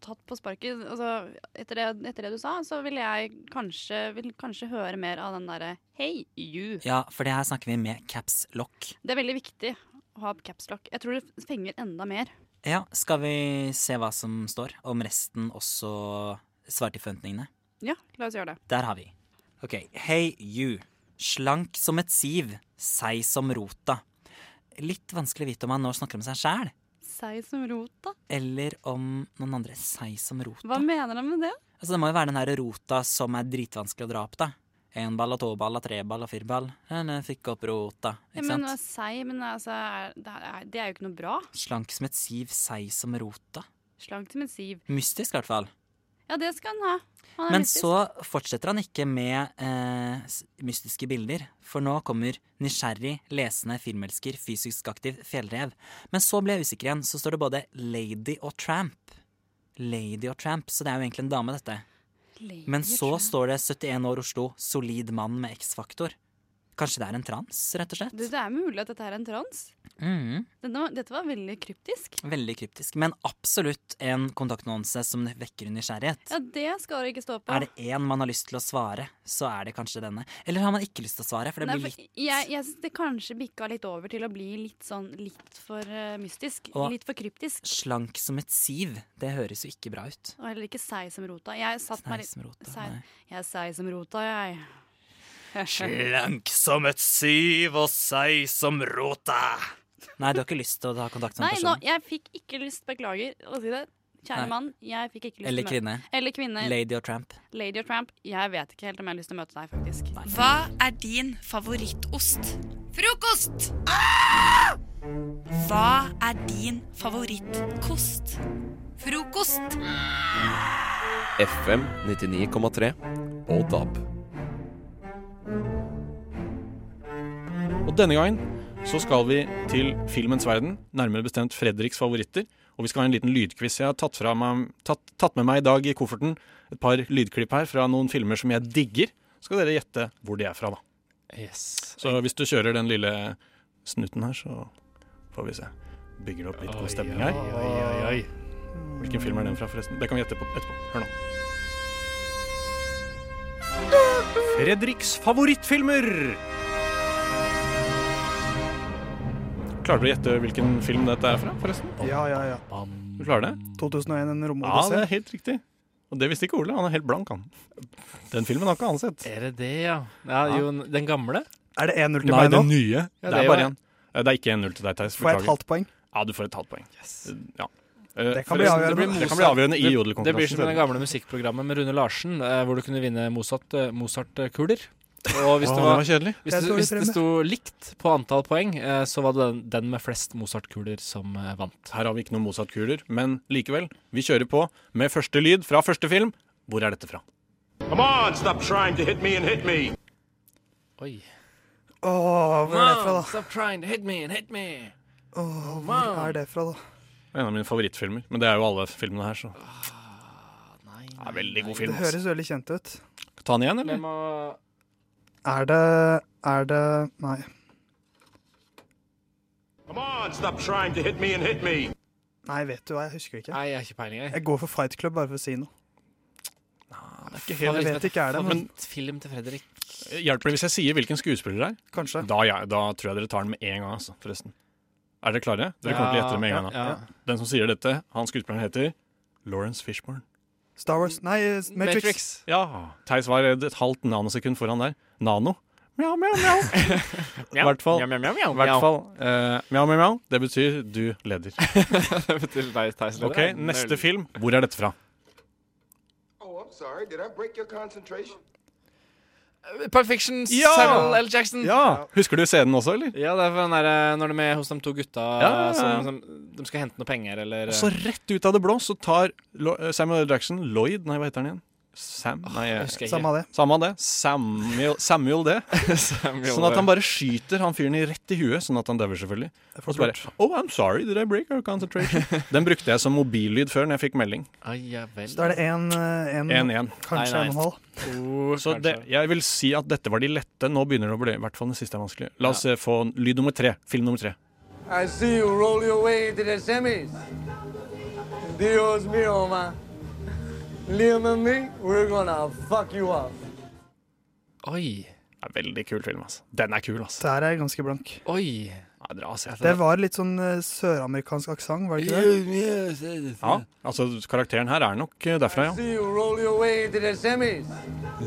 Speaker 22: tatt på sparket altså, etter, det, etter det du sa, så ville jeg kanskje, vil kanskje høre mer av den derre Hei, you.
Speaker 17: Ja, for det her snakker vi med caps lock.
Speaker 22: Det er veldig viktig å ha capslock. Jeg tror det fenger enda mer.
Speaker 17: Ja, skal vi se hva som står, om resten også svarer til forventningene?
Speaker 22: Ja, la oss gjøre det.
Speaker 17: Der har vi. Ok, hey you. Slank som et siv, seig som rota. Litt vanskelig å vite om han nå snakker om seg sjæl,
Speaker 22: Sei som rota.
Speaker 17: eller om noen andre. Seig som rota.
Speaker 22: Hva mener de med det?
Speaker 17: Altså, det må jo være den her rota som er dritvanskelig å dra opp, da. Én ball og to ball og tre ball og fire ball. Den fikk opp rota.
Speaker 22: Ja,
Speaker 17: Ikke
Speaker 22: men
Speaker 17: sant?
Speaker 22: å sei, men altså, er, det, er, det er jo ikke noe bra.
Speaker 17: Slank som et siv, seig som rota.
Speaker 22: Slank som en siv.
Speaker 17: Mystisk, i hvert fall.
Speaker 22: Ja, det skal han ha. Han er
Speaker 17: Men
Speaker 22: Ah, mystisk.
Speaker 17: så fortsetter han ikke med eh, s- mystiske bilder, for nå kommer nysgjerrig, lesende, filmelsker, fysisk aktiv fjellrev. Men så ble jeg usikker igjen, så står det både lady og tramp. Lady og tramp, så det er jo egentlig en dame, dette.
Speaker 22: Lady
Speaker 17: Men så
Speaker 22: Tramp.
Speaker 17: står det 71 år Oslo, solid mann med X-faktor. Kanskje det er en trans, rett og slett?
Speaker 22: Du, det er mulig at dette er en trans.
Speaker 17: Mhm.
Speaker 22: Denne, dette var veldig kryptisk.
Speaker 17: Veldig kryptisk, men absolutt en kontaktannonse som vekker nysgjerrighet.
Speaker 22: Ja, det skal det ikke stå på.
Speaker 17: Er det én man har lyst til å svare, så er det kanskje denne. Eller har man ikke lyst til å svare, for det
Speaker 22: Nei,
Speaker 17: blir
Speaker 22: for
Speaker 17: litt
Speaker 22: jeg, jeg synes det kanskje bikka litt over til å bli litt sånn litt for eh, mystisk.
Speaker 17: Og-
Speaker 22: litt for kryptisk.
Speaker 17: slank som et siv. Det høres jo ikke bra ut.
Speaker 22: Og heller ikke sei som rota. Jeg satt
Speaker 17: Sei
Speaker 22: meg litt
Speaker 17: som rota,
Speaker 22: sei,
Speaker 17: nei.
Speaker 22: Jeg er sei som rota, jeg. (laughs)
Speaker 17: Slank som et siv og seig som rota. Nei, du har ikke lyst til å ha kontakt med
Speaker 22: Nei,
Speaker 17: en
Speaker 22: nå,
Speaker 17: person?
Speaker 22: jeg fikk ikke lyst, beklager å si det. Kjære
Speaker 17: Nei.
Speaker 22: mann, jeg fikk ikke lyst
Speaker 17: Eller
Speaker 22: til å møte-
Speaker 17: kvinne.
Speaker 22: Eller kvinne.
Speaker 17: Lady og tramp.
Speaker 22: Lady og Tramp. Jeg vet ikke helt om jeg har lyst til å møte deg, faktisk.
Speaker 16: Hva er din favorittost? Frokost! Hva er din favorittkost? Frokost!
Speaker 6: FM 99,3 og DAB.
Speaker 14: Og denne gangen så skal vi til filmens verden, nærmere bestemt Fredriks favoritter. Og vi skal ha en liten lydquiz. Jeg har tatt, fra meg, tatt, tatt med meg i dag i kofferten et par lydklipp her fra noen filmer som jeg digger. Så skal dere gjette hvor de er fra, da.
Speaker 12: Yes.
Speaker 14: Så hvis du kjører den lille snuten her, så får vi se. Bygger det opp litt god stemning her. Hvilken film er den fra, forresten? Det kan vi gjette på etterpå. Hør nå. Fredriks favorittfilmer! Klarer du å gjette hvilken film dette er fra, forresten?
Speaker 13: Ja, ja, ja.
Speaker 14: Du klarer det?
Speaker 13: 2001 en
Speaker 14: Ja,
Speaker 13: romodyssé.
Speaker 14: det er helt riktig. Og det visste ikke Ole. Han er helt blank, han. Den filmen har ikke han sett.
Speaker 12: Er det det, ja? ja jo, den gamle?
Speaker 13: Er det 1-0 til
Speaker 14: Nei,
Speaker 13: meg nå?
Speaker 14: den nye.
Speaker 12: Ja,
Speaker 14: det,
Speaker 12: det
Speaker 14: er bare
Speaker 12: var-
Speaker 14: én. Eh, Det er ikke 1-0 til deg, Theis.
Speaker 13: Får jeg et
Speaker 14: Beklager.
Speaker 13: halvt poeng?
Speaker 14: Ja, du får et halvt poeng. Ja. Eh,
Speaker 13: Det kan bli
Speaker 14: forresten,
Speaker 13: avgjørende.
Speaker 14: blir
Speaker 12: Mozart-
Speaker 14: Det kan bli avgjørende i
Speaker 12: det-
Speaker 14: jodelkonkurransen.
Speaker 12: Det blir som i det gamle musikkprogrammet med Rune Larsen, eh, hvor du kunne vinne Mozart- eh, Mozart-kuler. og hvis
Speaker 14: Å,
Speaker 12: det var,
Speaker 14: det var kjedelig.
Speaker 12: Hvis,
Speaker 14: Jeg
Speaker 12: det,
Speaker 14: tror
Speaker 12: hvis
Speaker 14: det
Speaker 12: det sto likt på antall poeng, eh, så var det den, den med flest Mozart-kuler som eh, vant.
Speaker 14: Her har vi ikke noen Mozart-kuler, men likevel. Vi kjører på med første lyd fra første film. Hvor er dette fra?
Speaker 4: Come on, stop trying to hit me and hit me.
Speaker 13: Åh, hvor er det fra, da?
Speaker 12: stop trying to hit me and hit me!
Speaker 13: Åh, hvor er det fra, da?
Speaker 14: En av mine favorittfilmer. Men det er jo alle filmene her, så.
Speaker 13: Ah,
Speaker 14: det er veldig god film.
Speaker 13: Det høres veldig kjent ut.
Speaker 14: altså. Ta den igjen, eller?
Speaker 13: Er det Er det Nei.
Speaker 4: Come on, stop trying to hit me and hit me.
Speaker 13: Nei, vet du hva, jeg husker ikke.
Speaker 12: Nei, jeg har ikke peiling, jeg.
Speaker 13: Jeg går for Fight Club bare for å si noe.
Speaker 14: Nei,
Speaker 13: ikke helt- jeg vet ikke er det, men-
Speaker 12: Favorittfilm til Fredrik.
Speaker 14: Hjelper det hvis jeg sier hvilken skuespiller det er?
Speaker 13: Kanskje.
Speaker 14: Da, ja, da tror jeg dere tar den med en gang, altså, forresten. Er dere klare? Dere
Speaker 12: Ja,
Speaker 14: kommer til å gjette det med en gang.
Speaker 12: ja,
Speaker 14: da. Den som sier dette, han skuespilleren heter Lawrence Fishburne.
Speaker 13: Star Wars Nei, Matrix.
Speaker 14: Ja. Theis var et halvt nanosekund foran der. Nano. Mjau,
Speaker 6: (laughs)
Speaker 14: mjau, mjau. I hvert fall.
Speaker 12: Mjau, mjau, mjau, mjau.
Speaker 14: hvert fall, eh, mjau, mjau, mjau. Det betyr du leder.
Speaker 12: (laughs) det betyr deg, Theis.
Speaker 14: Ok, neste film. Hvor er dette fra?
Speaker 11: Oh, I'm sorry. Did I break your concentration?
Speaker 12: Perfection,
Speaker 11: Ja!
Speaker 12: Samuel L. Jackson.
Speaker 14: Ja, Husker du scenen også, eller?
Speaker 12: Ja, det er for den der, eh, når de er hos de to gutta
Speaker 14: Ja, ja, ja.
Speaker 12: Som, som, De skal hente noe penger, eller
Speaker 14: Og så rett ut av det blå så tar Lo- eh, Samuel L. Jackson Lloyd Nei, hva heter han igjen? Sam? Nei, jeg
Speaker 12: husker ikke. Samme av
Speaker 13: det.
Speaker 14: Samme av det. Samuel, Samuel det. sånn at
Speaker 12: det.
Speaker 14: han bare skyter han fyren i rett i huet, sånn at han dauer, selvfølgelig.
Speaker 12: er for
Speaker 14: Og så bare Oh, I'm sorry, did I break our concentration? Den brukte jeg som mobillyd før når jeg fikk melding.
Speaker 12: Ai, ja vel.
Speaker 13: Så da er det en, eh, en,
Speaker 14: 1-1.
Speaker 13: Kanskje en og en halv.
Speaker 14: Så det, jeg vil si at dette var de lette. Nå begynner det å bli I hvert fall den siste er vanskelig. La oss eh, få lyd nummer tre. Film nummer tre.
Speaker 10: I see you roll your way into the semis. Dios mío, man. Liam and me, we're gonna fuck you up.
Speaker 12: Oi.
Speaker 14: Det er veldig kul film, altså. Den er kul, altså.
Speaker 13: Der er jeg ganske blank.
Speaker 12: Oi.
Speaker 14: Ja, dere har sett
Speaker 13: Det
Speaker 14: den.
Speaker 13: var litt sånn eh, søramerikansk aksent, var det ikke det?
Speaker 14: Ja, altså karakteren her er nok eh, derfra, ja.
Speaker 10: See you roll your way into the semis.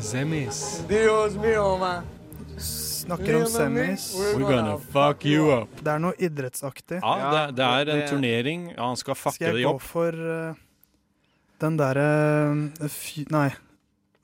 Speaker 14: Zemis.
Speaker 10: Dios mío, man.
Speaker 13: Snakker om semis.
Speaker 14: We're gonna fuck you up.
Speaker 13: Det er noe idrettsaktig.
Speaker 14: Ja, det, det er en
Speaker 13: det-
Speaker 14: turnering. Ja, han skal fucke
Speaker 13: Skal
Speaker 14: det
Speaker 13: jeg gå
Speaker 14: opp.
Speaker 13: for eh, den derre eh, fy- Nei.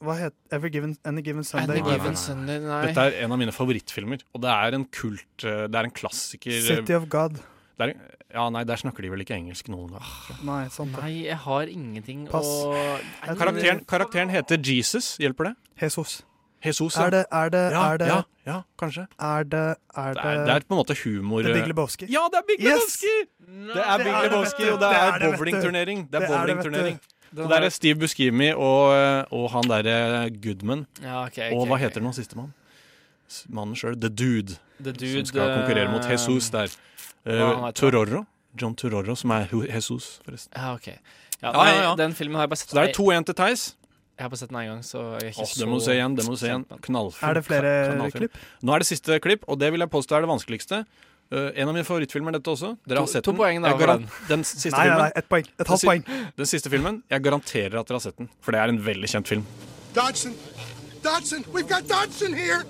Speaker 13: Hva het Every Given Any Given Sunday?
Speaker 14: Nei, nei, nei. Dette er en av mine favorittfilmer, og det er en kult eh, Det er en klassiker eh,
Speaker 13: City of God.
Speaker 14: det er, Ja, nei, der snakker de vel ikke engelsk noen gang.
Speaker 13: Nei, sant det.
Speaker 12: Nei, jeg har ingenting
Speaker 13: Pass.
Speaker 12: å
Speaker 13: Jeg tror-
Speaker 14: Karakteren, karakteren heter Jesus, hjelper det?
Speaker 13: Jesus.
Speaker 14: Jesus, ja.
Speaker 13: Er det Er det
Speaker 14: Ja,
Speaker 13: er det,
Speaker 14: ja, ja, kanskje.
Speaker 13: Er det Er
Speaker 14: Det
Speaker 13: det
Speaker 14: er, det er på en måte humor
Speaker 13: Eh, Det
Speaker 14: eh,
Speaker 13: er Big Lebowski.
Speaker 14: Ja, det er Big Lebowski! Det er Big Lebowski, og det er
Speaker 13: det, vet du.
Speaker 14: bowlingturnering. Det
Speaker 13: Det
Speaker 14: er
Speaker 13: er det, vet du.
Speaker 14: bowlingturnering.
Speaker 12: Den
Speaker 14: Så der
Speaker 12: her-
Speaker 14: er Steve Buscemi og, eh, og han derre Goodman.
Speaker 12: Ja, ok, ok,
Speaker 14: og hva
Speaker 12: ok.
Speaker 14: heter den sistemann? S- Mannen sjøl, The Dude,
Speaker 12: The Dude,
Speaker 14: som skal konkurrere mot
Speaker 12: eh,
Speaker 14: Jesus der. Eh,
Speaker 12: hva han heter.
Speaker 14: Tororro. John Tororro, som er Hu- Jesus, forresten.
Speaker 12: Ja, ok. Ja,
Speaker 14: Ja,
Speaker 12: nei,
Speaker 14: ja, ja.
Speaker 12: Den filmen har jeg bare sett
Speaker 14: Så det er 2-1 til Theis.
Speaker 12: Jeg har bare sett den en gang, så jeg er ikke
Speaker 14: Åh,
Speaker 12: så
Speaker 14: det må du se igjen. det må du se igjen.
Speaker 12: kjent med den.
Speaker 14: Knallfilm.
Speaker 13: Er det flere
Speaker 14: Knallfilm.
Speaker 13: klipp?
Speaker 14: Nå er det siste klipp, og det vil jeg påstå er det vanskeligste. Eh, en av mine favorittfilmer, dette også. Dere har
Speaker 12: To-
Speaker 14: sett
Speaker 12: to
Speaker 14: den.
Speaker 12: poeng da
Speaker 14: Jeg
Speaker 12: for
Speaker 14: garan-
Speaker 12: den.
Speaker 14: (laughs) den siste
Speaker 13: Nei, nei,
Speaker 14: filmen.
Speaker 13: nei, ett poeng. Et
Speaker 14: Den
Speaker 13: halvt
Speaker 14: si-
Speaker 13: poeng.
Speaker 14: Den siste filmen. Jeg garanterer at dere har sett den, for det er en veldig kjent film.
Speaker 11: Dodson! Dodson! We've got Dodson here!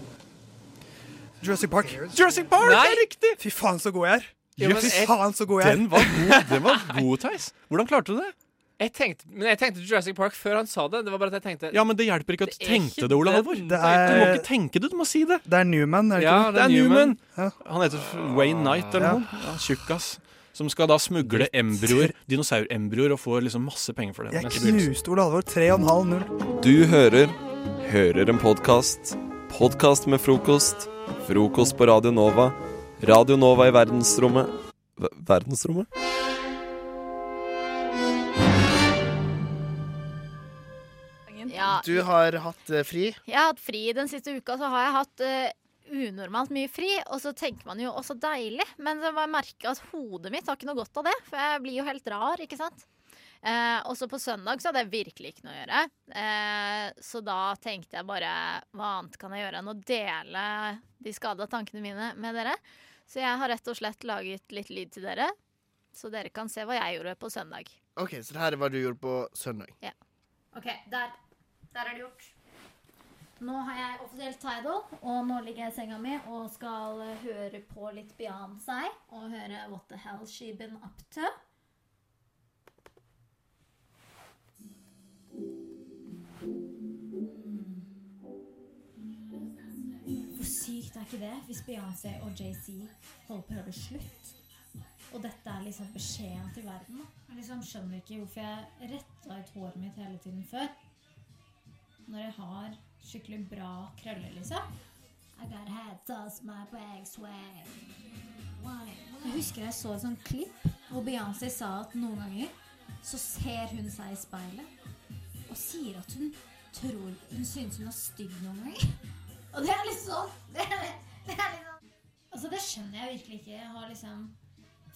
Speaker 13: Jurassic Park.
Speaker 14: Jurassic Park,
Speaker 13: det
Speaker 14: er riktig!
Speaker 13: Fy faen, så god jeg er.
Speaker 12: Ja, men
Speaker 13: Fy
Speaker 12: jeg-
Speaker 13: faen, så god jeg er.
Speaker 14: Den var god, den var god Theis. Hvordan klarte du det?
Speaker 12: Jeg tenkte, men jeg tenkte Jurassic Park før han sa det. Det var bare at jeg tenkte
Speaker 14: Ja, men Det hjelper ikke at du
Speaker 12: Det er
Speaker 14: tenkte
Speaker 12: ikke
Speaker 14: det, Ole
Speaker 12: den-
Speaker 14: Halvor.
Speaker 12: Det
Speaker 14: Du
Speaker 12: er-
Speaker 14: må ikke tenke det, du må si det.
Speaker 13: Det er Newman, er det
Speaker 14: Ja,
Speaker 13: ikke
Speaker 14: det er Newman.
Speaker 13: Ja.
Speaker 14: Han heter Wayne Knight eller
Speaker 13: Ja.
Speaker 14: noe. Ja, Tjukkas. Som skal da smugle embryoer, dinosaurembryoer, og får liksom masse penger for det.
Speaker 13: Jeg
Speaker 14: i begynnelsen.
Speaker 13: knuste Ole Halvor 3,5-0.
Speaker 6: Du hører Hører en podkast Podkast med frokost. Frokost på Radio Nova. Radio Nova i verdensrommet Ver- Verdensrommet?
Speaker 25: Ja.
Speaker 26: Du har hatt eh, fri.
Speaker 25: Jeg har hatt fri den siste uka, så har jeg hatt eh, unormalt mye fri. Og så tenker man jo 'å, så deilig', men så bare merker jeg at hodet mitt har ikke noe godt av det. For jeg blir jo helt rar, ikke sant. Eh, og så på søndag så hadde jeg virkelig ikke noe å gjøre. Eh, så da tenkte jeg bare hva annet kan jeg gjøre enn å dele de skada tankene mine med dere. Så jeg har rett og slett laget litt lyd til dere, så dere kan se hva jeg gjorde på søndag.
Speaker 26: OK, så det her er hva du gjorde på søndag.
Speaker 25: Ok, der. Der er det gjort. Nå har jeg offisielt Tidal, og nå ligger jeg i senga mi og skal eh, høre på litt Beyoncé og høre What the hell she been up to. Hvor sykt er ikke det hvis Beyoncé og JC holder på å gjøre det slutt? Og dette er liksom beskjeden til verden. Jeg liksom skjønner ikke hvorfor jeg retta ut håret mitt hele tiden før. Når jeg har skikkelig bra krøller, liksom. I got hats as my bags swag. Jeg husker jeg så et sånt klipp hvor Beyoncé sa at noen ganger så ser hun seg i speilet og sier at hun tror hun synes hun er stygg noen ganger. Og det er litt sånn (laughs) Det er, det er litt sånn Altså, det skjønner jeg virkelig ikke. Jeg har liksom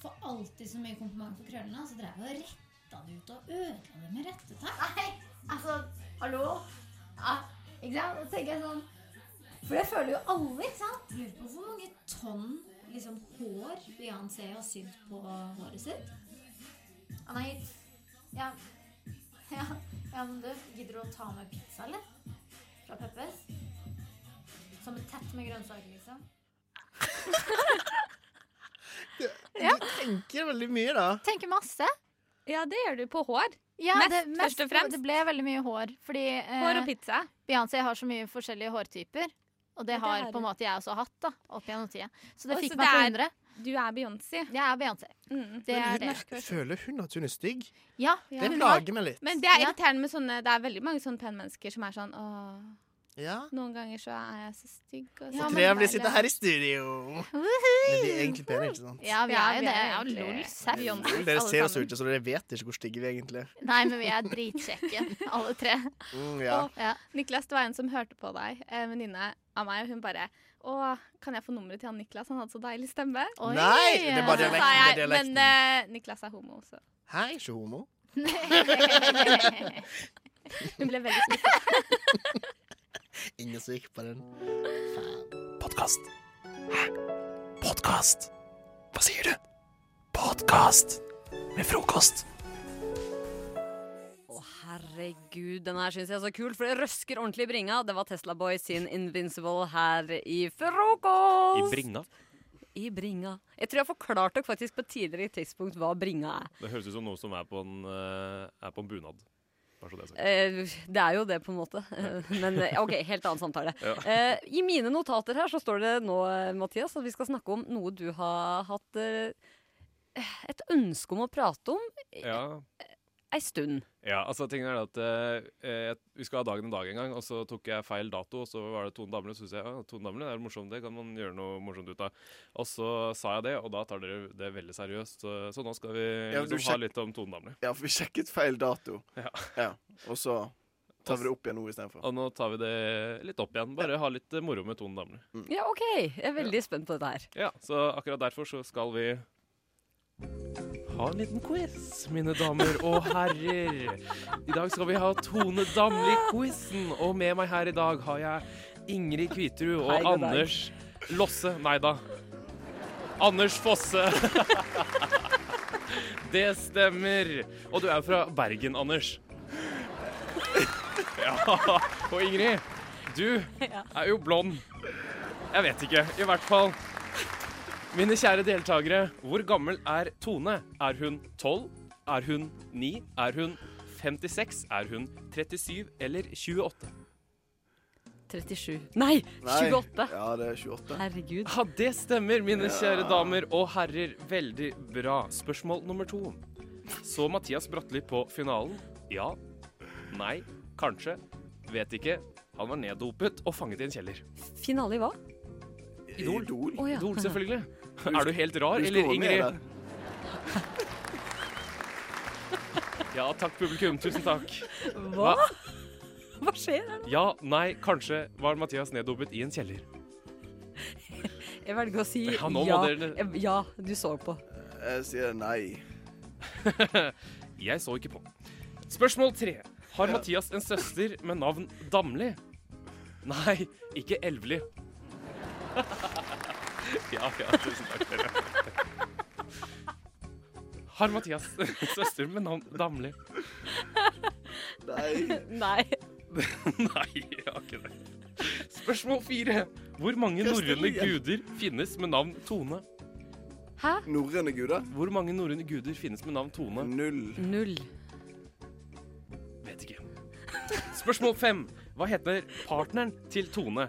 Speaker 25: får alltid så mye kompliment for krøllene, så drev jeg og retta det ut og ødela det med rettetang. Nei, altså, hallo? Ja, ikke sant? Da tenker jeg sånn For det føler jo alle, ikke sant? Lurer på hvor mange tonn liksom, hår Beyoncé har sydd på håret sitt. Han har gitt ja. (laughs) ja. Ja, men du, gidder du å ta med pizza, eller? Fra Peppes? Som er tett med grønnsaker, liksom?
Speaker 26: Du tenker veldig mye, da.
Speaker 25: Tenker masse.
Speaker 24: Ja, det gjør du på hår.
Speaker 25: Ja,
Speaker 24: Mest,
Speaker 25: det,
Speaker 24: først og fremst.
Speaker 25: Det ble veldig mye hår. Fordi, eh,
Speaker 24: Hår og pizza.
Speaker 25: Beyoncé har så mye forskjellige hårtyper. Og det
Speaker 24: det
Speaker 25: har
Speaker 24: har
Speaker 25: på en
Speaker 24: hun.
Speaker 25: måte jeg også hatt. da, opp gjennom tida. Så det
Speaker 24: Å,
Speaker 25: fikk
Speaker 24: så
Speaker 25: meg til å
Speaker 24: det er-
Speaker 25: undre.
Speaker 24: Du er Beyoncé. Mm,
Speaker 25: Jeg er Beyoncé. Det
Speaker 26: Men
Speaker 25: er
Speaker 26: hun-
Speaker 25: det.
Speaker 26: Føler hun at hun er stygg?
Speaker 25: Ja,
Speaker 26: Det plager meg litt.
Speaker 24: Men det er irriterende med sånne Det er veldig mange sånne pene mennesker som er sånn Åh,
Speaker 26: Ja.
Speaker 24: noen ganger så er jeg så stygg. Og så
Speaker 26: Så trevelig å sitte her i studio. Men vi er egentlig pene, ikke sant?
Speaker 25: Ja, vi
Speaker 24: Ja,
Speaker 25: er jo
Speaker 24: vi
Speaker 25: det.
Speaker 24: er
Speaker 25: Ja,
Speaker 24: egentlig
Speaker 25: lol, seff.
Speaker 26: Dere
Speaker 25: alle
Speaker 26: ser oss
Speaker 25: sammen.
Speaker 26: ut som dere vet ikke hvor stygge vi egentlig er.
Speaker 25: Nei, men vi er dritsjekke,
Speaker 24: (laughs)
Speaker 25: alle tre.
Speaker 26: Mm, ja.
Speaker 24: Og Niklas, det var en som hørte på deg, en venninne av meg, og hun bare Å, kan jeg få nummeret til han Niklas? Han hadde så deilig stemme.
Speaker 26: Oi. Nei, det er bare
Speaker 24: Og så sa
Speaker 26: dialekten, det er
Speaker 24: jeg,
Speaker 26: dialekten.
Speaker 24: Men eh, Niklas er homo, så
Speaker 26: Hæ, ikke homo?
Speaker 24: (laughs) Hun ble veldig (laughs) skuffet.
Speaker 26: Ingen som gikk på den.
Speaker 6: Podkast. Hæ? Podkast? Hva sier du? Podkast med frokost.
Speaker 2: Herregud, den her syns jeg er så kul, for det røsker ordentlig i bringa. Det var Tesla Boy sin Invincible her i frokost.
Speaker 5: I bringa.
Speaker 2: I bringa. Jeg tror jeg forklarte dere faktisk på et tidligere tidspunkt hva bringa er.
Speaker 5: Det høres ut som noe som er på en, eh, er på en bunad. Bare så det er sagt.
Speaker 2: Eh, det er jo det, på en måte. Eh, Men eh, OK, helt annen samtale.
Speaker 5: Ja.
Speaker 2: Eh, I mine notater her så står det nå, eh, Mathias, at vi skal snakke om noe du har hatt eh, et ønske om å prate om
Speaker 5: Ja.
Speaker 2: ei stund.
Speaker 5: Ja, altså tingen er det at eh, eh, Vi skal ha dagen en dag en gang, og så tok jeg feil dato. Og så var det Tone Damli, og så syntes jeg ja, Tone Damli det er morsomt, det kan man gjøre noe morsomt ut av. Og så sa jeg det, og da tar dere det veldig seriøst. Så, så nå skal vi
Speaker 26: Ja, du
Speaker 5: liksom,
Speaker 26: sjek-
Speaker 5: ha litt om Tone Damli.
Speaker 26: Ja, for vi sjekket feil dato.
Speaker 5: Ja.
Speaker 26: Og så tar vi det opp igjen nå istedenfor.
Speaker 5: Og nå tar vi det litt opp igjen. Bare ha litt eh, moro med Tone Damli.
Speaker 2: Ja, OK. Jeg er veldig spent på dette her.
Speaker 5: Ja, så akkurat derfor så skal vi ha en liten quiz, mine damer og herrer. I dag skal vi ha Tone Damli-quizen, og med meg her i dag har jeg Ingrid Kvitrud og
Speaker 4: Hei, god dag.
Speaker 5: Anders Losse. Nei da. Anders Fosse. (laughs) Det stemmer. Og du er jo fra Bergen, Anders. Ja. Og Ingrid, du er jo blond. Jeg vet ikke. I hvert fall. Mine kjære deltakere, hvor gammel er Tone? Er hun 12? Er hun 9? Er hun 56? Er hun 37? Eller 28?
Speaker 2: 37. Nei, 28.
Speaker 26: Ja, det er 28.
Speaker 2: Herregud.
Speaker 5: Ja, det stemmer, mine
Speaker 26: Ja.
Speaker 5: kjære damer og herrer. Veldig bra. Spørsmål nummer to. Så Mathias Bratteli på finalen? Ja. Nei. Kanskje. Vet ikke. Han var neddopet og fanget i en kjeller.
Speaker 2: Finale i hva?
Speaker 5: Idol.
Speaker 2: Idol. Å, ja.
Speaker 5: Idol, (laughs) selvfølgelig. Er du helt rar,
Speaker 2: Husk
Speaker 5: eller
Speaker 2: å være med,
Speaker 5: Ingrid? (laughs) Ja, takk, publikum. Tusen takk.
Speaker 2: Hva? (laughs) Hva skjer her nå?
Speaker 5: Ja, nei, kanskje var Mathias neddopet i en kjeller.
Speaker 2: Jeg velger å si
Speaker 5: Ja,
Speaker 2: ja.
Speaker 5: nå må
Speaker 2: Ja,
Speaker 5: dere-
Speaker 2: du så på.
Speaker 5: Jeg sier nei. (laughs) jeg så ikke på. Spørsmål tre. Har Mathias en søster med navn Damli? Nei, ikke Elvli. ja, ja, tusen takk, dere. Har Mathias en søster med navn Damli?
Speaker 2: Nei. Nei.
Speaker 5: Nei, jeg har ikke det. Spørsmål fire. Hvor mange norrøne guder finnes med navn Tone?
Speaker 2: Hæ?
Speaker 5: Norrøne guder? Hvor mange norrøne guder finnes med navn Tone? Null.
Speaker 2: Null.
Speaker 5: Vet ikke. Spørsmål fem. Hva heter partneren til Tone?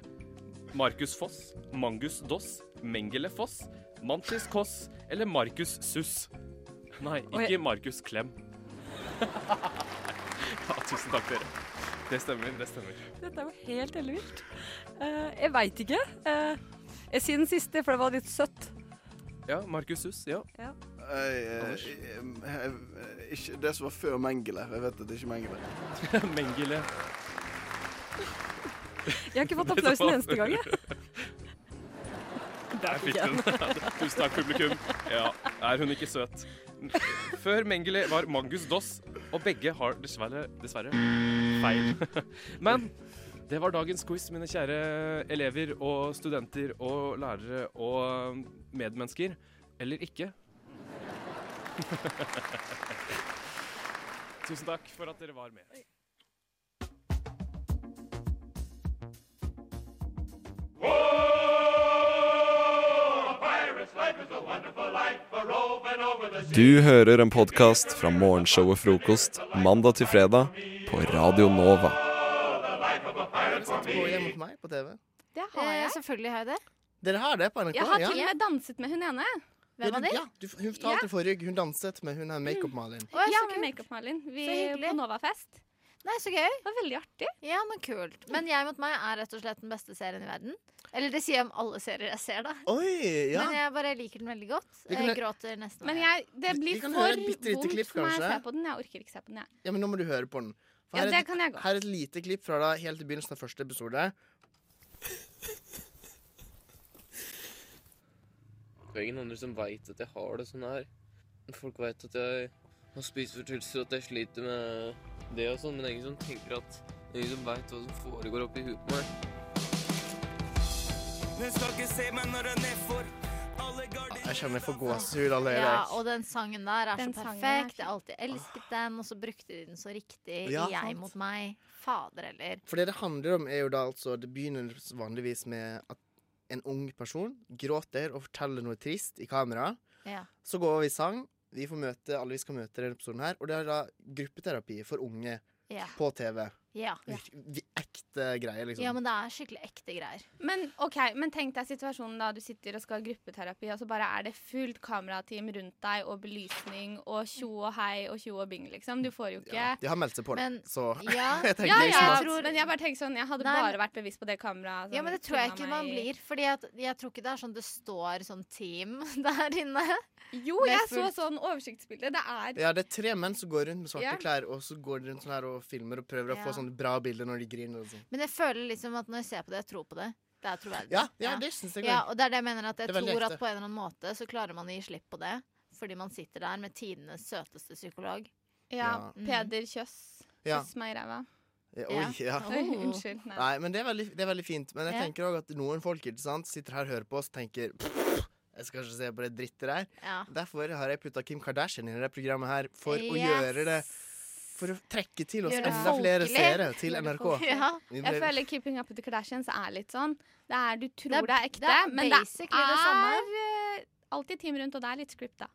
Speaker 5: Markus Foss, Mangus Doss, Mengele Foss, Mantis Koss eller Markus Suss? Nei,
Speaker 2: Oi.
Speaker 5: ikke Markus Klem. ja, tusen takk, dere. Det stemmer, det stemmer.
Speaker 2: Dette er jo helt ellevilt. Uh, jeg veit ikke. Eh, jeg sier den siste, for det var litt søtt.
Speaker 5: Ja, Markus Suss, ja.
Speaker 2: Ja.
Speaker 3: Jeg, jeg, jeg, jeg, eh, ikke det som var før Mengele. Jeg vet at det ikke er Mengele.
Speaker 5: (laughs) Mengele.
Speaker 2: Jeg har ikke
Speaker 5: (laughs)
Speaker 2: fått applausen en eneste gang, jeg.
Speaker 5: Der fikk hun.
Speaker 2: (laughs)
Speaker 5: Tusen takk, publikum. Ja, er hun ikke søt? Før Mengele var Mangus Doss, og begge har dessverre, dessverre feil.
Speaker 1: (laughs)
Speaker 5: (laughs) Men det var dagens quiz, mine kjære elever og studenter og lærere og um, medmennesker. Eller ikke. (laughs) Tusen takk for at dere var med.
Speaker 6: Du hører en podkast fra morgenshowet Frokost mandag til fredag på Radio Nova.
Speaker 26: Gå hjemme hos meg på TV.
Speaker 24: Det Eh, har jeg.
Speaker 27: selvfølgelig har jeg det.
Speaker 26: Dere har det på NRK?
Speaker 24: Jeg har
Speaker 26: ja.
Speaker 24: til og med danset med hun ene.
Speaker 26: Ja, du- Ja, du, hun fortalte
Speaker 24: Ja. Mm.
Speaker 26: forrige uke hun danset med hun her makeupmaleren.
Speaker 24: Ja, med makeup-Malin. Vi
Speaker 27: Så hyggelig.
Speaker 24: på Novafest.
Speaker 27: Nei, så gøy. Det
Speaker 24: var veldig artig.
Speaker 27: Ja, men kult. Men Jeg mot meg er rett og slett den beste serien i verden. Eller det sier jeg om alle serier jeg ser, da.
Speaker 26: Oi, ja.
Speaker 27: Men jeg bare liker den veldig godt.
Speaker 26: Vi kan
Speaker 27: Jeg
Speaker 26: hø-
Speaker 27: gråter nesten
Speaker 24: Men jeg, det blir
Speaker 26: Vi kan
Speaker 24: for
Speaker 26: høre et bitte lite
Speaker 24: vondt
Speaker 26: klipp,
Speaker 24: for meg å
Speaker 26: kanskje?
Speaker 24: se på den. Jeg orker ikke se på den, jeg.
Speaker 26: Ja, men nå må du høre på den. For
Speaker 24: Ja,
Speaker 26: her er
Speaker 24: det
Speaker 26: et-
Speaker 24: kan jeg godt.
Speaker 26: Her er et lite klipp fra da helt i begynnelsen av første episode.
Speaker 19: Det er ingen andre som veit at jeg har det sånn her. Folk veit at jeg har spiseforstyrrelser, at jeg sliter med det og sånn, men det er ingen som tenker at det er ingen som veit hva som foregår oppi huet på meg.
Speaker 20: Hun skal ikke se meg når hun er nedfor. Alle
Speaker 26: Ja, Jeg kjenner jeg får gåsehud allerede.
Speaker 27: Ja, og den sangen der er
Speaker 24: Den
Speaker 27: så
Speaker 24: sangen
Speaker 27: perfekt.
Speaker 24: er
Speaker 27: Jeg har alltid elsket den, og så brukte de den så riktig i
Speaker 26: Ah. Ja,
Speaker 27: Jeg
Speaker 26: sant.
Speaker 27: mot meg. Fader heller.
Speaker 26: For det det handler om, er jo da altså Det begynner vanligvis med at en ung person gråter og forteller noe trist i kamera.
Speaker 27: Ja.
Speaker 26: Så går vi i sang. Vi får møte alle vi skal møte i denne episoden her. Og det er da gruppeterapi for unge
Speaker 27: Ja.
Speaker 26: på TV.
Speaker 27: Ja.
Speaker 26: Virk- vi- Ekte greier, liksom.
Speaker 27: ja, men det er skikkelig ekte greier.
Speaker 24: Men ok, men tenk deg situasjonen da du sitter og skal ha gruppeterapi, og så bare er det fullt kamerateam rundt deg, og belysning, og tjo og hei, og tjo og bing, liksom. Du får jo ikke
Speaker 26: De har meldt seg på, da.
Speaker 24: Men-
Speaker 26: Så
Speaker 24: (laughs)
Speaker 26: (laughs)
Speaker 24: Ja,
Speaker 26: jeg tenker
Speaker 24: ja,
Speaker 26: liksom
Speaker 24: jeg
Speaker 26: at-
Speaker 24: tror, men jeg bare tenker sånn, jeg hadde
Speaker 27: Nei, men-
Speaker 24: bare vært altså. bevisst på det kameraet. sånn,
Speaker 27: Ja, men det tror jeg ikke man blir. Fordi at, jeg tror ikke det er sånn det står sånn team (laughs) der inne.
Speaker 24: Jo,
Speaker 27: Med
Speaker 24: jeg så
Speaker 27: fullt-
Speaker 24: sånn oversiktsbilde. Det er
Speaker 26: liksom- Ja, det er tre menn som går rundt med svarte
Speaker 24: Ja.
Speaker 26: klær, og så går de rundt sånn her og filmer og prøver å
Speaker 27: Ja.
Speaker 26: få sånne bra bilder når de griner. og sånn.
Speaker 27: Men jeg føler liksom at når jeg ser på det, jeg tror på det. Det er troverdig.
Speaker 26: Ja, ja, det synes jeg
Speaker 27: ja,
Speaker 26: vel.
Speaker 27: Og det er det jeg mener, at jeg
Speaker 26: Det er veldig
Speaker 27: tror
Speaker 26: ekte.
Speaker 27: at på en eller annen måte så klarer man å gi slipp på det. Fordi man sitter der med tidenes søteste psykolog. Mhm.
Speaker 24: Ja,
Speaker 26: Ja.
Speaker 24: Peder Kjøss.
Speaker 26: Ja.
Speaker 24: Kjøss meg i ræva.
Speaker 26: Eh, Oi, ja.
Speaker 24: Oi, unnskyld. Nei.
Speaker 26: Nei, men det er veldig, det er veldig fint. Men jeg
Speaker 24: Ja.
Speaker 26: tenker òg at noen folk ikke sant, sitter her og hører på oss og tenker «Pff, jeg skal ikke se på det drittet der.
Speaker 27: Ja.
Speaker 26: Derfor har jeg putta Kim Kardashian inn i det programmet her for å
Speaker 24: Yes.
Speaker 26: gjøre det For å trekke til oss
Speaker 24: Gjøre det
Speaker 26: enda flere
Speaker 24: folkelig.
Speaker 26: seere til NRK.
Speaker 24: Ja.
Speaker 26: Vi
Speaker 24: Jeg
Speaker 26: ble-
Speaker 24: føler Keeping Up With The Kardashians er litt sånn det er, Du tror det er, ekte,
Speaker 27: det er
Speaker 24: men det
Speaker 27: basically det
Speaker 24: er
Speaker 27: samme.
Speaker 24: eh, alltid team rundt, og det er litt scripta.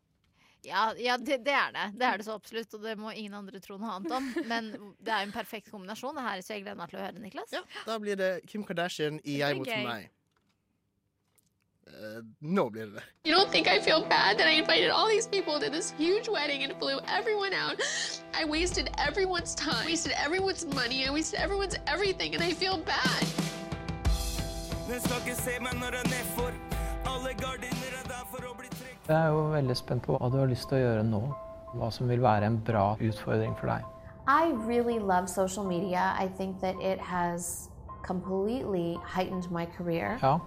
Speaker 27: Ja, ja det, det er det. Det er det så absolutt, og det må ingen andre tro noe annet om. Men det er en perfekt kombinasjon. Det her så jeg gleder meg til å høre, Niklas.
Speaker 26: Da blir det Kim Kardashian i Jeg mot
Speaker 27: gøy.
Speaker 26: meg. Eh,
Speaker 2: Nå blir det det.
Speaker 1: You don't think I feel bad that I invited all these people to this huge wedding and blew everyone out? I wasted everyone's time, wasted everyone's money, I wasted everyone's everything, and I feel bad.
Speaker 20: Den skal ikke se meg når jeg er nedfor. Alle gardiner er der for å bli trygg.
Speaker 21: Jeg er jo veldig spent på hva du har lyst til å gjøre nå. Hva som vil være en bra utfordring for deg.
Speaker 23: I really love social media. I think that it has completely heightened my career.
Speaker 21: Ja,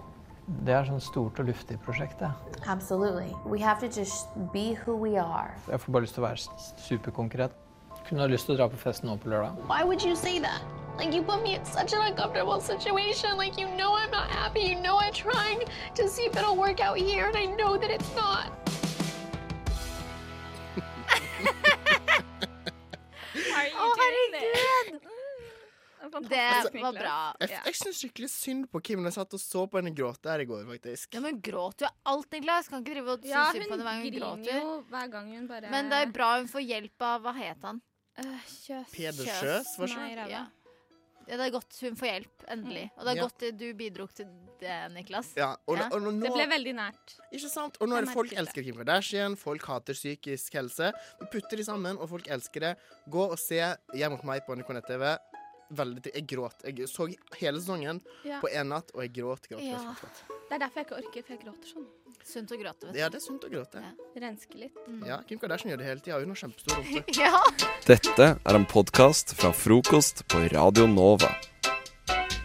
Speaker 21: det er sånn stort og luftig prosjekt, det.
Speaker 23: Absolutely. We have to just be who we are.
Speaker 21: Jeg får bare lyst til å være s- superkonkret. Kunne ha lyst til å dra på fest nå på lørdag.
Speaker 1: Why would you say that? Like, you put me in such an uncomfortable situation. Like, you know I'm not happy. You know I'm trying to see if it'll work out here, and I know that it's not.
Speaker 15: Å,
Speaker 8: herregud!
Speaker 2: Mm.
Speaker 24: Det var bra.
Speaker 2: Jeg, jeg syns skikkelig synd på Kim når jeg satt og så på henne gråte her i går, faktisk.
Speaker 8: Ja, men gråter jo alt, Niklas. Kan ikke drive og
Speaker 24: eh, Ja,
Speaker 8: synes på
Speaker 24: hun
Speaker 8: det hver gang hun
Speaker 24: griner
Speaker 8: gråter.
Speaker 24: jo hver gang hun bare
Speaker 8: Men det er bra hun får hjelp av Hva het han?
Speaker 24: Eh,
Speaker 8: Kjøs.
Speaker 2: Peder Kjøs, var
Speaker 8: Nei,
Speaker 2: det sånn?
Speaker 8: ræva. Ja. Ja, det er godt hun får hjelp, endelig.
Speaker 24: Mm.
Speaker 8: Og det er
Speaker 2: Ja.
Speaker 8: godt du bidro til det, Niklas.
Speaker 2: Ja, og, og, nå-
Speaker 24: Det ble veldig nært.
Speaker 2: Ikke sant? Og nå er det folk elsker Kim Kardashian, folk hater psykisk helse. Vi putter de sammen, og folk elsker det. Gå og se Hjem hos meg på NRK nett-TV. Veldig til. Jeg gråt. Jeg så hele sesongen
Speaker 24: Ja.
Speaker 2: på én natt, og jeg gråt, gråt,
Speaker 24: Ja.
Speaker 2: gråt. gråt.
Speaker 24: Det er derfor jeg ikke orker, for jeg gråter sånn.
Speaker 8: Sunt å gråte,
Speaker 2: Ja, det er sunt å gråte. Ja.
Speaker 24: Renske litt.
Speaker 2: Kim Kardashian gjør det hele tida. Hun har kjempestor rumpe.
Speaker 8: ja.
Speaker 6: Dette er en podkast fra frokost på Radio Nova.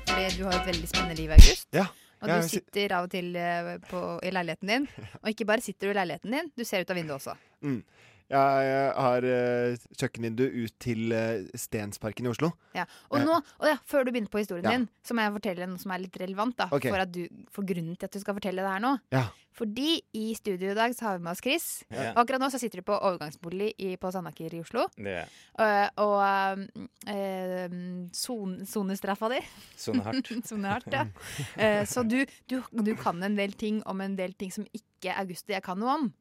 Speaker 8: Fordi du har et veldig spennende liv, August.
Speaker 6: Ja,
Speaker 8: Og
Speaker 6: jeg
Speaker 8: du
Speaker 6: si-
Speaker 8: sitter av og til eh, på, i leiligheten din. Og ikke bare sitter du i leiligheten din, du ser ut av vinduet også.
Speaker 7: Mm. Jeg eh, har eh, kjøkkenvindu ut til eh, Stensparken i Oslo.
Speaker 8: Ja. Og
Speaker 7: Eh.
Speaker 8: nå, å ja, før du begynner på historien
Speaker 7: Ja.
Speaker 8: din, så må jeg fortelle noe som er litt relevant. da
Speaker 7: Ok.
Speaker 8: for, at du, for grunnen til at du skal fortelle det her nå.
Speaker 7: Ja.
Speaker 8: Fordi i studio i dag så har vi med oss Chris.
Speaker 9: Ja.
Speaker 8: Og akkurat nå så sitter du på overgangsbolig i, på Sandaker i Oslo.
Speaker 9: (laughs) Det
Speaker 8: Eh, og eh, son, sonestraffa di.
Speaker 9: Sone
Speaker 8: (laughs)
Speaker 9: hardt.
Speaker 8: Sone hardt, ja. Eh, så du, du, du kan en del ting om en del ting som ikke August og jeg kan noe om.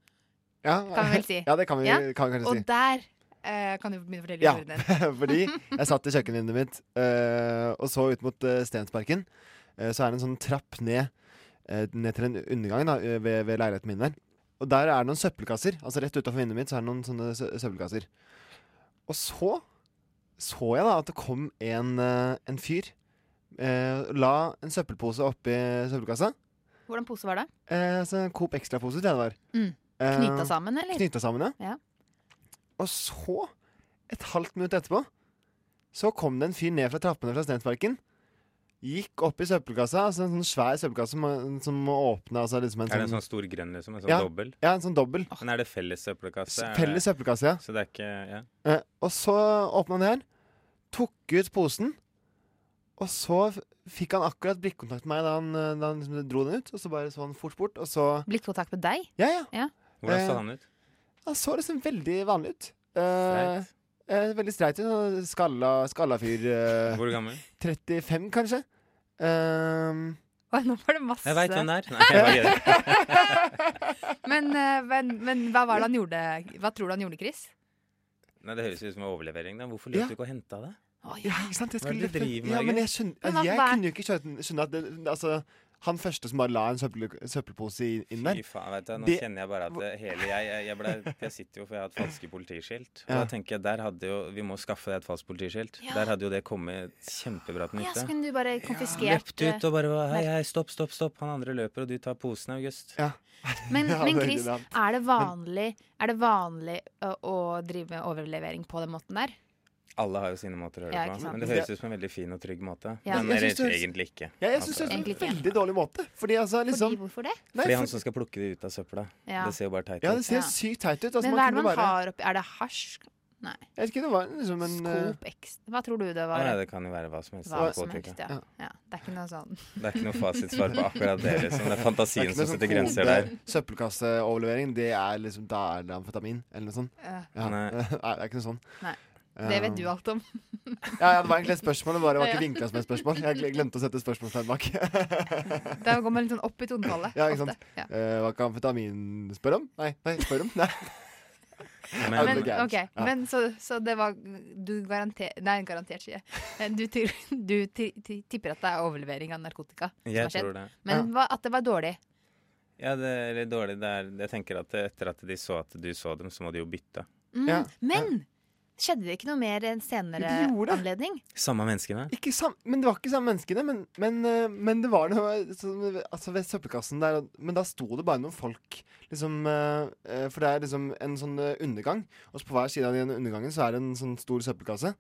Speaker 7: Ja.
Speaker 8: Kan vi vel si.
Speaker 7: (laughs) Ja, det kan vi, kan vi kanskje
Speaker 8: og
Speaker 7: si.
Speaker 8: der eh, kan du begynne å fortelle
Speaker 7: Ja,
Speaker 8: historien
Speaker 7: (laughs)
Speaker 8: din. (laughs)
Speaker 7: fordi jeg satt i kjøkkenvinduet mitt eh, og så ut mot eh, Stensparken. Eh, så er det en sånn trapp ned, eh, ned til en undergang da, eh, ved, ved leiligheten min der. Og der er det noen søppelkasser. Altså Rett utafor vinduet mitt så er det noen sånne sø søppelkasser. Og så så jeg da at det kom en, eh, en fyr. eh, la en søppelpose oppi søppelkassa.
Speaker 8: Hvordan pose var det?
Speaker 7: Eh, så en Coop Extra-pose, tror jeg det var.
Speaker 8: Mm.
Speaker 7: Eh,
Speaker 8: Knyta sammen, eller?
Speaker 7: Knyta sammen, ja. (laughs)
Speaker 8: Ja.
Speaker 7: Og så, et halvt minutt etterpå, så kom det en fyr ned fra trappene fra Stensparken. Gikk opp i søppelkassa, altså en sånn svær søppelkasse som, som må åpne altså liksom en
Speaker 9: Er det en
Speaker 7: sånn-
Speaker 9: sånn stor grønn, liksom? En sånn
Speaker 7: ja,
Speaker 9: dobbel?
Speaker 7: Ja, en sånn dobbel.
Speaker 9: Men er det felles søppelkasse? Er det-
Speaker 7: Felles søppelkasse, ja.
Speaker 9: Så det er ikke Ja.
Speaker 7: Eh, og så åpna han det her, tok ut posen, og så f- fikk han akkurat blikkontakt med meg da han, eh, da han liksom dro den ut, og så bare så han fort bort, og så
Speaker 8: Blikkontakt med deg?
Speaker 7: Ja, ja.
Speaker 9: Hvordan
Speaker 7: Eh,
Speaker 9: så han ut?
Speaker 7: Han så liksom veldig vanlig ut. Eh, eh, veldig streit ut. sånn Skalla, skalla fyr. eh,
Speaker 9: Hvor gammel?
Speaker 7: 35, kanskje. Um,
Speaker 8: nå var det masse
Speaker 9: Jeg veit hvem
Speaker 7: (laughs)
Speaker 9: det er. Nei, jeg bare gidder.
Speaker 8: Men, eh, men, men hva var det han gjorde? Hva tror du han gjorde, Chris?
Speaker 9: Nei, det høres ut som en overlevering, da. Hvorfor løp
Speaker 7: Ja.
Speaker 9: du ikke og henta det?
Speaker 7: ja, ikke sant? Jeg
Speaker 9: Hva er
Speaker 7: skulle
Speaker 9: det du
Speaker 7: løpe-
Speaker 9: driver med,
Speaker 7: ja, men jeg,
Speaker 9: Jørgen?
Speaker 7: skjønner,
Speaker 9: Men
Speaker 7: altså,
Speaker 9: hva-
Speaker 7: jeg
Speaker 9: hva er-
Speaker 7: kunne jo ikke skjønne, skjønne at det, altså, han første som bare la en søppel, søppelpose i- inn der
Speaker 9: Fy faen, vet du, Nå
Speaker 7: det-
Speaker 9: kjenner jeg bare at det, hele jeg jeg, jeg, ble, jeg sitter jo for jeg har hatt falske politiskilt. Og
Speaker 7: Ja.
Speaker 9: da tenker jeg, der hadde jo, Vi må skaffe deg et falskt politiskilt.
Speaker 8: Ja.
Speaker 9: Der hadde jo det kommet kjempebra til
Speaker 8: Ja,
Speaker 9: nytte.
Speaker 8: så kunne du bare konfiskert eh,
Speaker 9: Løpt ut og bare var, Hei,
Speaker 8: Mer-
Speaker 9: hei, stopp, stopp, stopp. Han andre løper, og du tar posen, August.
Speaker 8: (laughs)
Speaker 7: (laughs)
Speaker 8: Men,
Speaker 9: Ja,
Speaker 8: men
Speaker 9: det er ikke
Speaker 8: Chris,
Speaker 9: sant.
Speaker 8: er det vanlig, er det vanlig å, å drive med overlevering på den måten der?
Speaker 9: Alle har jo sine måter å gjøre
Speaker 8: Ja,
Speaker 9: det
Speaker 8: ikke
Speaker 9: på.
Speaker 8: sant.
Speaker 9: Men det høres ut som en veldig fin og trygg måte.
Speaker 8: Ja.
Speaker 9: Men
Speaker 7: Jeg
Speaker 9: eller
Speaker 7: synes det høres-
Speaker 9: egentlig ikke.
Speaker 7: Ja, jeg syns
Speaker 9: Altså,
Speaker 7: det er en
Speaker 8: Egentlig ikke.
Speaker 7: veldig dårlig måte. Fordi altså, liksom
Speaker 8: hvorfor det?
Speaker 7: Nei,
Speaker 9: fordi han
Speaker 7: for-
Speaker 9: som skal plukke det ut av søpla.
Speaker 8: Ja.
Speaker 9: Det ser jo bare teit ut.
Speaker 7: Ja, det ser sykt teit ut. Altså,
Speaker 8: men hva
Speaker 7: man
Speaker 8: er det
Speaker 7: kunne
Speaker 8: man
Speaker 7: bare
Speaker 8: har oppi? Er det hasj? Nei.
Speaker 7: Jeg vet ikke, det var liksom en eh,
Speaker 8: Coop X. Hva tror du det
Speaker 9: Å,
Speaker 8: var?
Speaker 9: nei, det kan jo være hva som helst.
Speaker 8: Hva
Speaker 9: Det er
Speaker 8: som
Speaker 9: påtrykk,
Speaker 8: helst,
Speaker 9: ja.
Speaker 8: ja. ja. Det er ikke noe sånn
Speaker 9: Det er ikke noe fasitsvar på akkurat
Speaker 8: (laughs)
Speaker 9: det. liksom. Det er
Speaker 7: Det
Speaker 9: fantasien
Speaker 7: ikke noe
Speaker 9: som
Speaker 7: sånn
Speaker 9: setter grenser
Speaker 7: kode-
Speaker 9: der.
Speaker 7: Søppelkasseoverlevering, det er liksom Da er det amfetamin, eller noe sånt.
Speaker 8: Ja.
Speaker 7: (laughs) Nei. det er ikke noe sånn.
Speaker 8: Nei. Det vet du
Speaker 7: Um,
Speaker 8: alt om.
Speaker 7: (laughs) Ja, ja, det var egentlig et spørsmål, det bare var
Speaker 8: (laughs)
Speaker 7: ikke
Speaker 8: Ja.
Speaker 7: vinkla som et spørsmål. Jeg gle- glemte å sette spørsmålstegn bak. (laughs)
Speaker 8: Da går man litt sånn opp i tonetallet.
Speaker 7: Ja, ikke
Speaker 8: ofte.
Speaker 7: sant? Eh, hva kan amfetamin spørre om? Nei, nei, spør om? Nei.
Speaker 9: Men-
Speaker 7: Ja, det
Speaker 8: Men,
Speaker 7: er gærent.
Speaker 8: ok,
Speaker 7: Ja.
Speaker 8: men så, så det var Du garanter, nei, garantert sier jeg. Eh, Du, til- (laughs) du ti- ti- tipper at det er overlevering av narkotika som
Speaker 9: Jeg
Speaker 8: har skjedd.
Speaker 9: tror det.
Speaker 8: Men hva, at det var dårlig.
Speaker 9: Ja, det er litt dårlig. Det er, jeg tenker at etter at de så at du så dem, så må de jo bytte.
Speaker 8: Mm. Men skjedde det ikke noe mer en senere anledning?
Speaker 9: Samme
Speaker 7: (laughs)
Speaker 9: menneskene.
Speaker 7: Ikke sam men det var ikke samme menneskene, men, men, eh, men det var noe sånn, altså ved søppelkassen der. og- Men da sto det bare noen folk, liksom, eh, eh, for det er liksom en sånn eh, undergang. Og så på hver side av den undergangen så er det en sånn stor søppelkasse.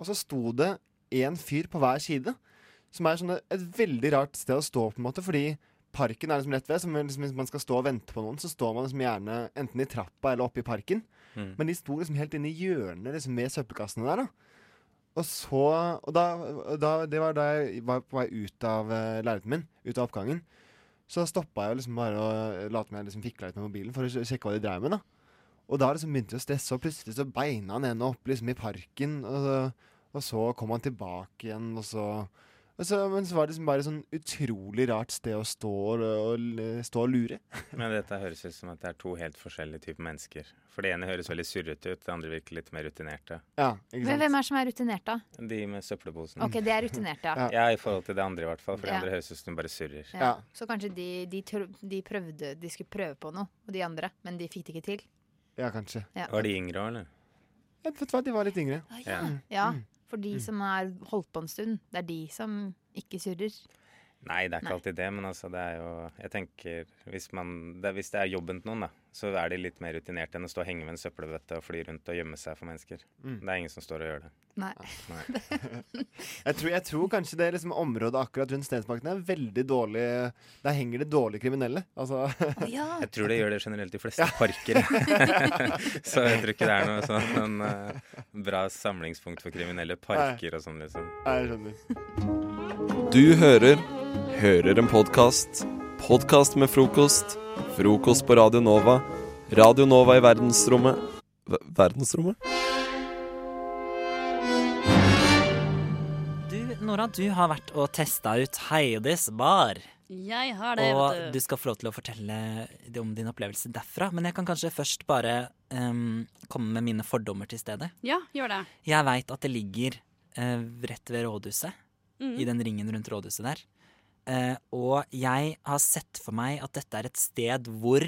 Speaker 7: Og så sto det én fyr på hver side, som er sånn et veldig rart sted å stå, på en måte, fordi parken er liksom rett ved. Så man- liksom, hvis man skal stå og vente på noen, så står man liksom gjerne enten i trappa eller oppe i parken.
Speaker 9: Mm.
Speaker 7: Men de sto liksom helt inne i hjørnet liksom, med søppelkassene der. da. Og så Og da, og da, det var da jeg var på vei ut av uh, leiligheten min, ut av oppgangen. Så stoppa jeg liksom bare og lot meg liksom fikla litt med mobilen for å sj- sjekke hva de dreiv med. da. Og da liksom begynte jeg å stresse, og plutselig så beina han ene opp liksom i parken. Og, og så kom han tilbake igjen, og så, og så Men så var det liksom bare sånn utrolig rart sted å stå og, og, stå og lure.
Speaker 9: Men dette høres ut som at det er to helt forskjellige typer mennesker. For det ene høres veldig surrete ut, det andre virker litt mer rutinerte.
Speaker 7: Ja,
Speaker 8: Men hvem er det som er rutinert, da?
Speaker 9: De med søppelposen.
Speaker 8: Ok, det er rutinert, ja.
Speaker 9: Ja, i forhold til det andre i hvert fall. For det
Speaker 8: Ja.
Speaker 9: andre høres ut som de bare surrer.
Speaker 8: Ja. Så kanskje de, de, tro- de prøvde De skulle prøve på noe, og de andre, men de fikk det ikke til.
Speaker 7: Ja, kanskje.
Speaker 8: Ja. Ah,
Speaker 9: Var de yngre òg, eller?
Speaker 7: Jeg vet hva, de var litt yngre.
Speaker 9: Ja. Mm.
Speaker 8: Ja, for de som har holdt på en stund, det er de som ikke surrer.
Speaker 9: Nei, det er ikke
Speaker 8: Nei.
Speaker 9: alltid det, men altså det er jo Jeg tenker hvis, man, det, er- hvis det er jobben til noen, da, så er de litt mer rutinerte enn å stå og henge med en søppelbøtte og fly rundt og gjemme seg for mennesker.
Speaker 7: Mm.
Speaker 9: Det er ingen som står og gjør det.
Speaker 8: Nei. (laughs)
Speaker 7: jeg, tror, jeg tror kanskje det liksom området akkurat rundt Stensbakken er veldig dårlig Der henger det dårlige kriminelle. Altså.
Speaker 9: Jeg tror det gjør det generelt i fleste parker.
Speaker 7: (laughs)
Speaker 9: (laughs) så jeg tror ikke det er noe sånn en, eh, bra samlingspunkt for kriminelle parker og sånn, liksom.
Speaker 7: Nei, (laughs) jeg skjønner.
Speaker 6: Du hører Hører en podkast. Podkast med frokost. Frokost på Radio Nova. Radio Nova i verdensrommet Ver- Verdensrommet?
Speaker 17: Du, Nora, du har vært og testa ut Heidis bar.
Speaker 22: Jeg har det,
Speaker 17: og
Speaker 22: vet
Speaker 17: du
Speaker 22: du.
Speaker 17: skal få lov til å fortelle om din opplevelse derfra. Men jeg kan kanskje først bare em, komme med mine fordommer til stedet.
Speaker 22: Ja, gjør det. (laughs)
Speaker 17: Jeg veit at det ligger eh, rett ved rådhuset,
Speaker 22: Mhm.
Speaker 17: i den ringen rundt rådhuset der. Eh, og jeg har sett for meg at dette er et sted hvor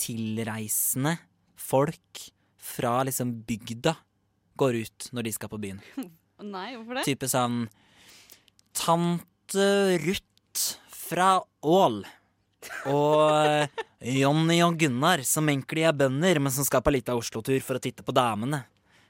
Speaker 17: tilreisende folk fra liksom bygda går ut når de skal på byen.
Speaker 22: Å Nei, hvorfor det?
Speaker 17: Type sånn Tante Ruth fra Ål. Og eh, Jonny og Gunnar, som egentlig er bønder, men som skal på lita Oslo-tur for å titte på damene.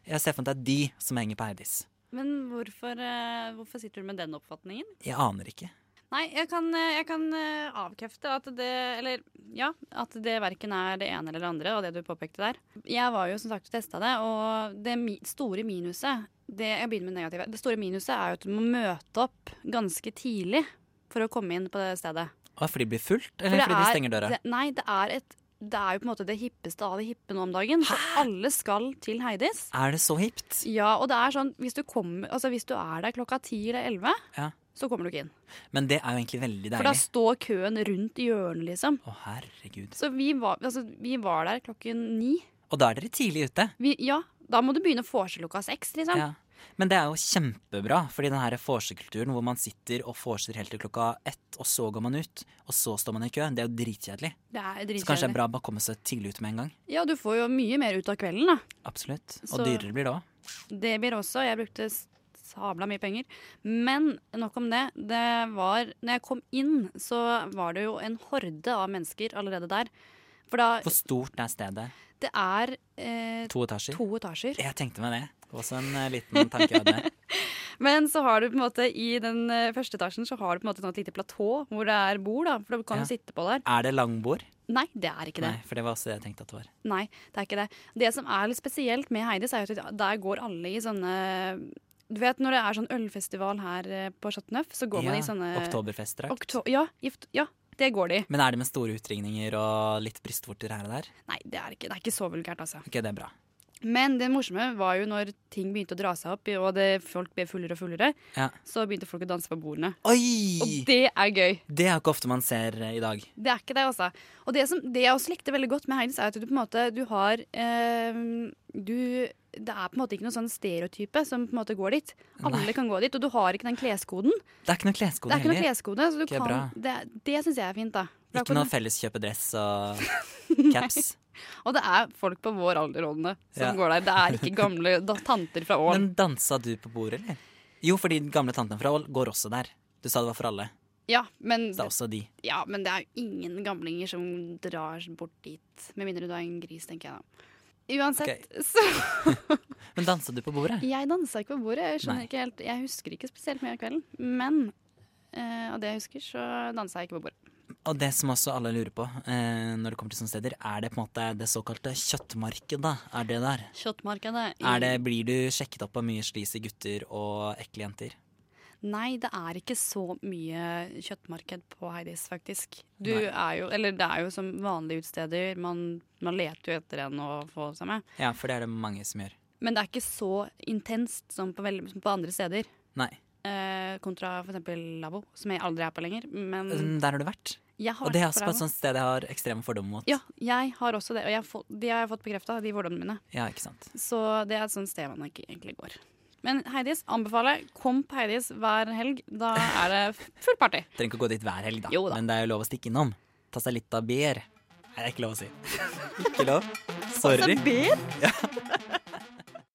Speaker 17: Jeg ser for meg at det er de som henger på Heidis.
Speaker 22: Men hvorfor, eh, hvorfor sitter du med den oppfatningen?
Speaker 17: Jeg aner ikke.
Speaker 22: Nei, jeg kan, eh, jeg kan eh, avkrefte at det Eller ja, at det verken er det ene eller det andre, og det du påpekte der. Jeg var jo som sagt og testa det, og det mi store minuset det, Jeg begynner med det negative. Det store minuset er jo at du må møte opp ganske tidlig for å komme inn på det stedet.
Speaker 17: Å, fordi det blir fullt,
Speaker 22: For
Speaker 17: eller Eh,
Speaker 22: det
Speaker 17: fordi de
Speaker 22: er-
Speaker 17: stenger døra?
Speaker 22: Det, nei, det er, et, det er jo på en måte det hippeste av det hippe nå om dagen. For alle skal til Heidis.
Speaker 17: Er det så hipt?
Speaker 22: Ja, og det er sånn, hvis du, kommer, altså, hvis du er der klokka ti eller elleve,
Speaker 17: Ja.
Speaker 22: så kommer du ikke inn.
Speaker 17: Men det er jo egentlig veldig
Speaker 22: For da
Speaker 17: deilig.
Speaker 22: står køen rundt hjørnet, liksom.
Speaker 17: Å, herregud.
Speaker 22: Så vi var, altså, vi var der klokken ni.
Speaker 17: Og da er dere tidlig ute.
Speaker 22: Vi, ja, da må du begynne å vorse klokka seks, liksom.
Speaker 17: Ja. Men det er jo kjempebra, fordi den her vorsekulturen hvor man sitter og vorser helt til klokka ett, og så går man ut, og så står man i kø, det er jo dritkjedelig.
Speaker 22: Det er
Speaker 17: Så kanskje det
Speaker 22: dritkjedelig.
Speaker 17: er bra å bare komme seg tidlig ut med en gang.
Speaker 22: Ja, du får jo mye mer ut av kvelden, da.
Speaker 17: Absolutt. Og
Speaker 22: Så-
Speaker 17: dyrere blir det òg.
Speaker 22: Det blir også. Jeg brukte sabla mye penger. Men nok om det. Det var Når jeg kom inn, så var det jo en horde av mennesker allerede der. For da
Speaker 17: Hvor stort er stedet?
Speaker 22: Det er eh,
Speaker 17: To etasjer?
Speaker 22: To etasjer.
Speaker 17: Jeg tenkte meg det. Det var Også en eh, liten tanke jeg
Speaker 22: (laughs)
Speaker 17: hadde.
Speaker 22: Men så har du på en måte i den eh, første etasjen så har du på en måte et sånt lite platå hvor det er bord, da. For du kan
Speaker 17: Ja.
Speaker 22: jo sitte på der.
Speaker 17: Er det langbord?
Speaker 22: Nei, det er ikke det.
Speaker 17: Nei, for det var også det jeg tenkte at det var.
Speaker 22: Nei, det er ikke det. Det som er litt spesielt med Heidis, er jo at der går alle i sånne Du vet når det er sånn ølfestival her eh, på Chateauneuf, så går man
Speaker 17: Ja,
Speaker 22: i sånne
Speaker 17: oktoberfestdrakt.
Speaker 22: Okto- ja, gift, ja, det går de i.
Speaker 17: Men er det med store utringninger og litt brystvorter her og der?
Speaker 22: Nei, det er, ikke, det er ikke så vulgært, altså.
Speaker 17: Ok, det er bra.
Speaker 22: Men det morsomme var jo når ting begynte å dra seg opp, og det, folk ble fullere og fullere,
Speaker 17: Ja.
Speaker 22: så begynte folk å danse på bordene.
Speaker 17: Oi!
Speaker 22: Og det er gøy.
Speaker 17: Det er jo ikke ofte man ser eh, i dag.
Speaker 22: Det er ikke det, altså. Og det, som, det jeg også likte veldig godt med Heidis, er at du på en måte du har eh, du, Det er på en måte ikke noen sånn stereotype som på en måte går dit. Alle
Speaker 17: Nei.
Speaker 22: kan gå dit, og du har ikke den kleskoden.
Speaker 17: Det er ikke noe kleskode
Speaker 22: det er ikke noe kleskode. Så du
Speaker 17: Ok,
Speaker 22: kan,
Speaker 17: bra.
Speaker 22: det det syns jeg er fint, da. Da
Speaker 17: Ikke
Speaker 22: kunne-
Speaker 17: noe felleskjøpedress og caps.
Speaker 22: (laughs) Og det er folk på vår alder Ålne, som
Speaker 17: Ja.
Speaker 22: går der. Det er ikke gamle da, tanter fra Ål.
Speaker 17: Men dansa du på bordet, eller? Jo, fordi den gamle tanten fra Ål går også der. Du sa det var for alle.
Speaker 22: Ja, men
Speaker 17: Så det er også de.
Speaker 22: Ja, men det er jo ingen gamlinger som drar bort dit. Med mindre du er en gris, tenker jeg da. Uansett, så
Speaker 17: Men dansa du på bordet?
Speaker 22: Jeg dansa ikke på bordet. Jeg skjønner
Speaker 17: Nei.
Speaker 22: ikke helt Jeg husker ikke spesielt mye av kvelden. Men eh, av det jeg husker, så dansa jeg ikke på bordet.
Speaker 17: Og det som også alle lurer på, eh, når det kommer til sånne steder, er det på en måte det såkalte kjøttmarkedet? Er det der?
Speaker 22: Kjøttmarkedet i-
Speaker 17: Er det, blir du sjekket opp av mye sleazy gutter og ekle jenter?
Speaker 22: Nei, det er ikke så mye kjøttmarked på Heidis, faktisk. Du
Speaker 17: Nei.
Speaker 22: er jo Eller det er jo som vanlige utesteder. Man, man leter jo etter en å få seg med.
Speaker 17: Ja, for det er det mange som gjør.
Speaker 22: Men det er ikke så intenst som på, veldig, som på andre steder.
Speaker 17: Nei.
Speaker 22: Eh, kontra f.eks. lavvo, som jeg aldri er på lenger. Men
Speaker 17: Mm, Der har du vært.
Speaker 22: Jeg har
Speaker 17: og det er også
Speaker 22: vært på
Speaker 17: på et
Speaker 22: lavvo.
Speaker 17: sånt sted jeg har ekstreme fordommer mot.
Speaker 22: Ja, jeg har også det. Og jeg har fått, de har jeg fått bekrefta, de fordommene mine.
Speaker 17: Ja, ikke sant.
Speaker 22: Så det er et sånt sted man ikke egentlig går. Men Heidis anbefaler. Kom på Heidis hver helg. Da er det fullt party.
Speaker 17: (laughs) Trenger ikke å gå dit hver helg, da. Men det er jo lov å stikke innom. Ta seg (laughs) litt av bier. Nei, det er ikke lov å si. Ikke lov. Sorry.
Speaker 22: Altså, bier?
Speaker 17: (laughs) Ja.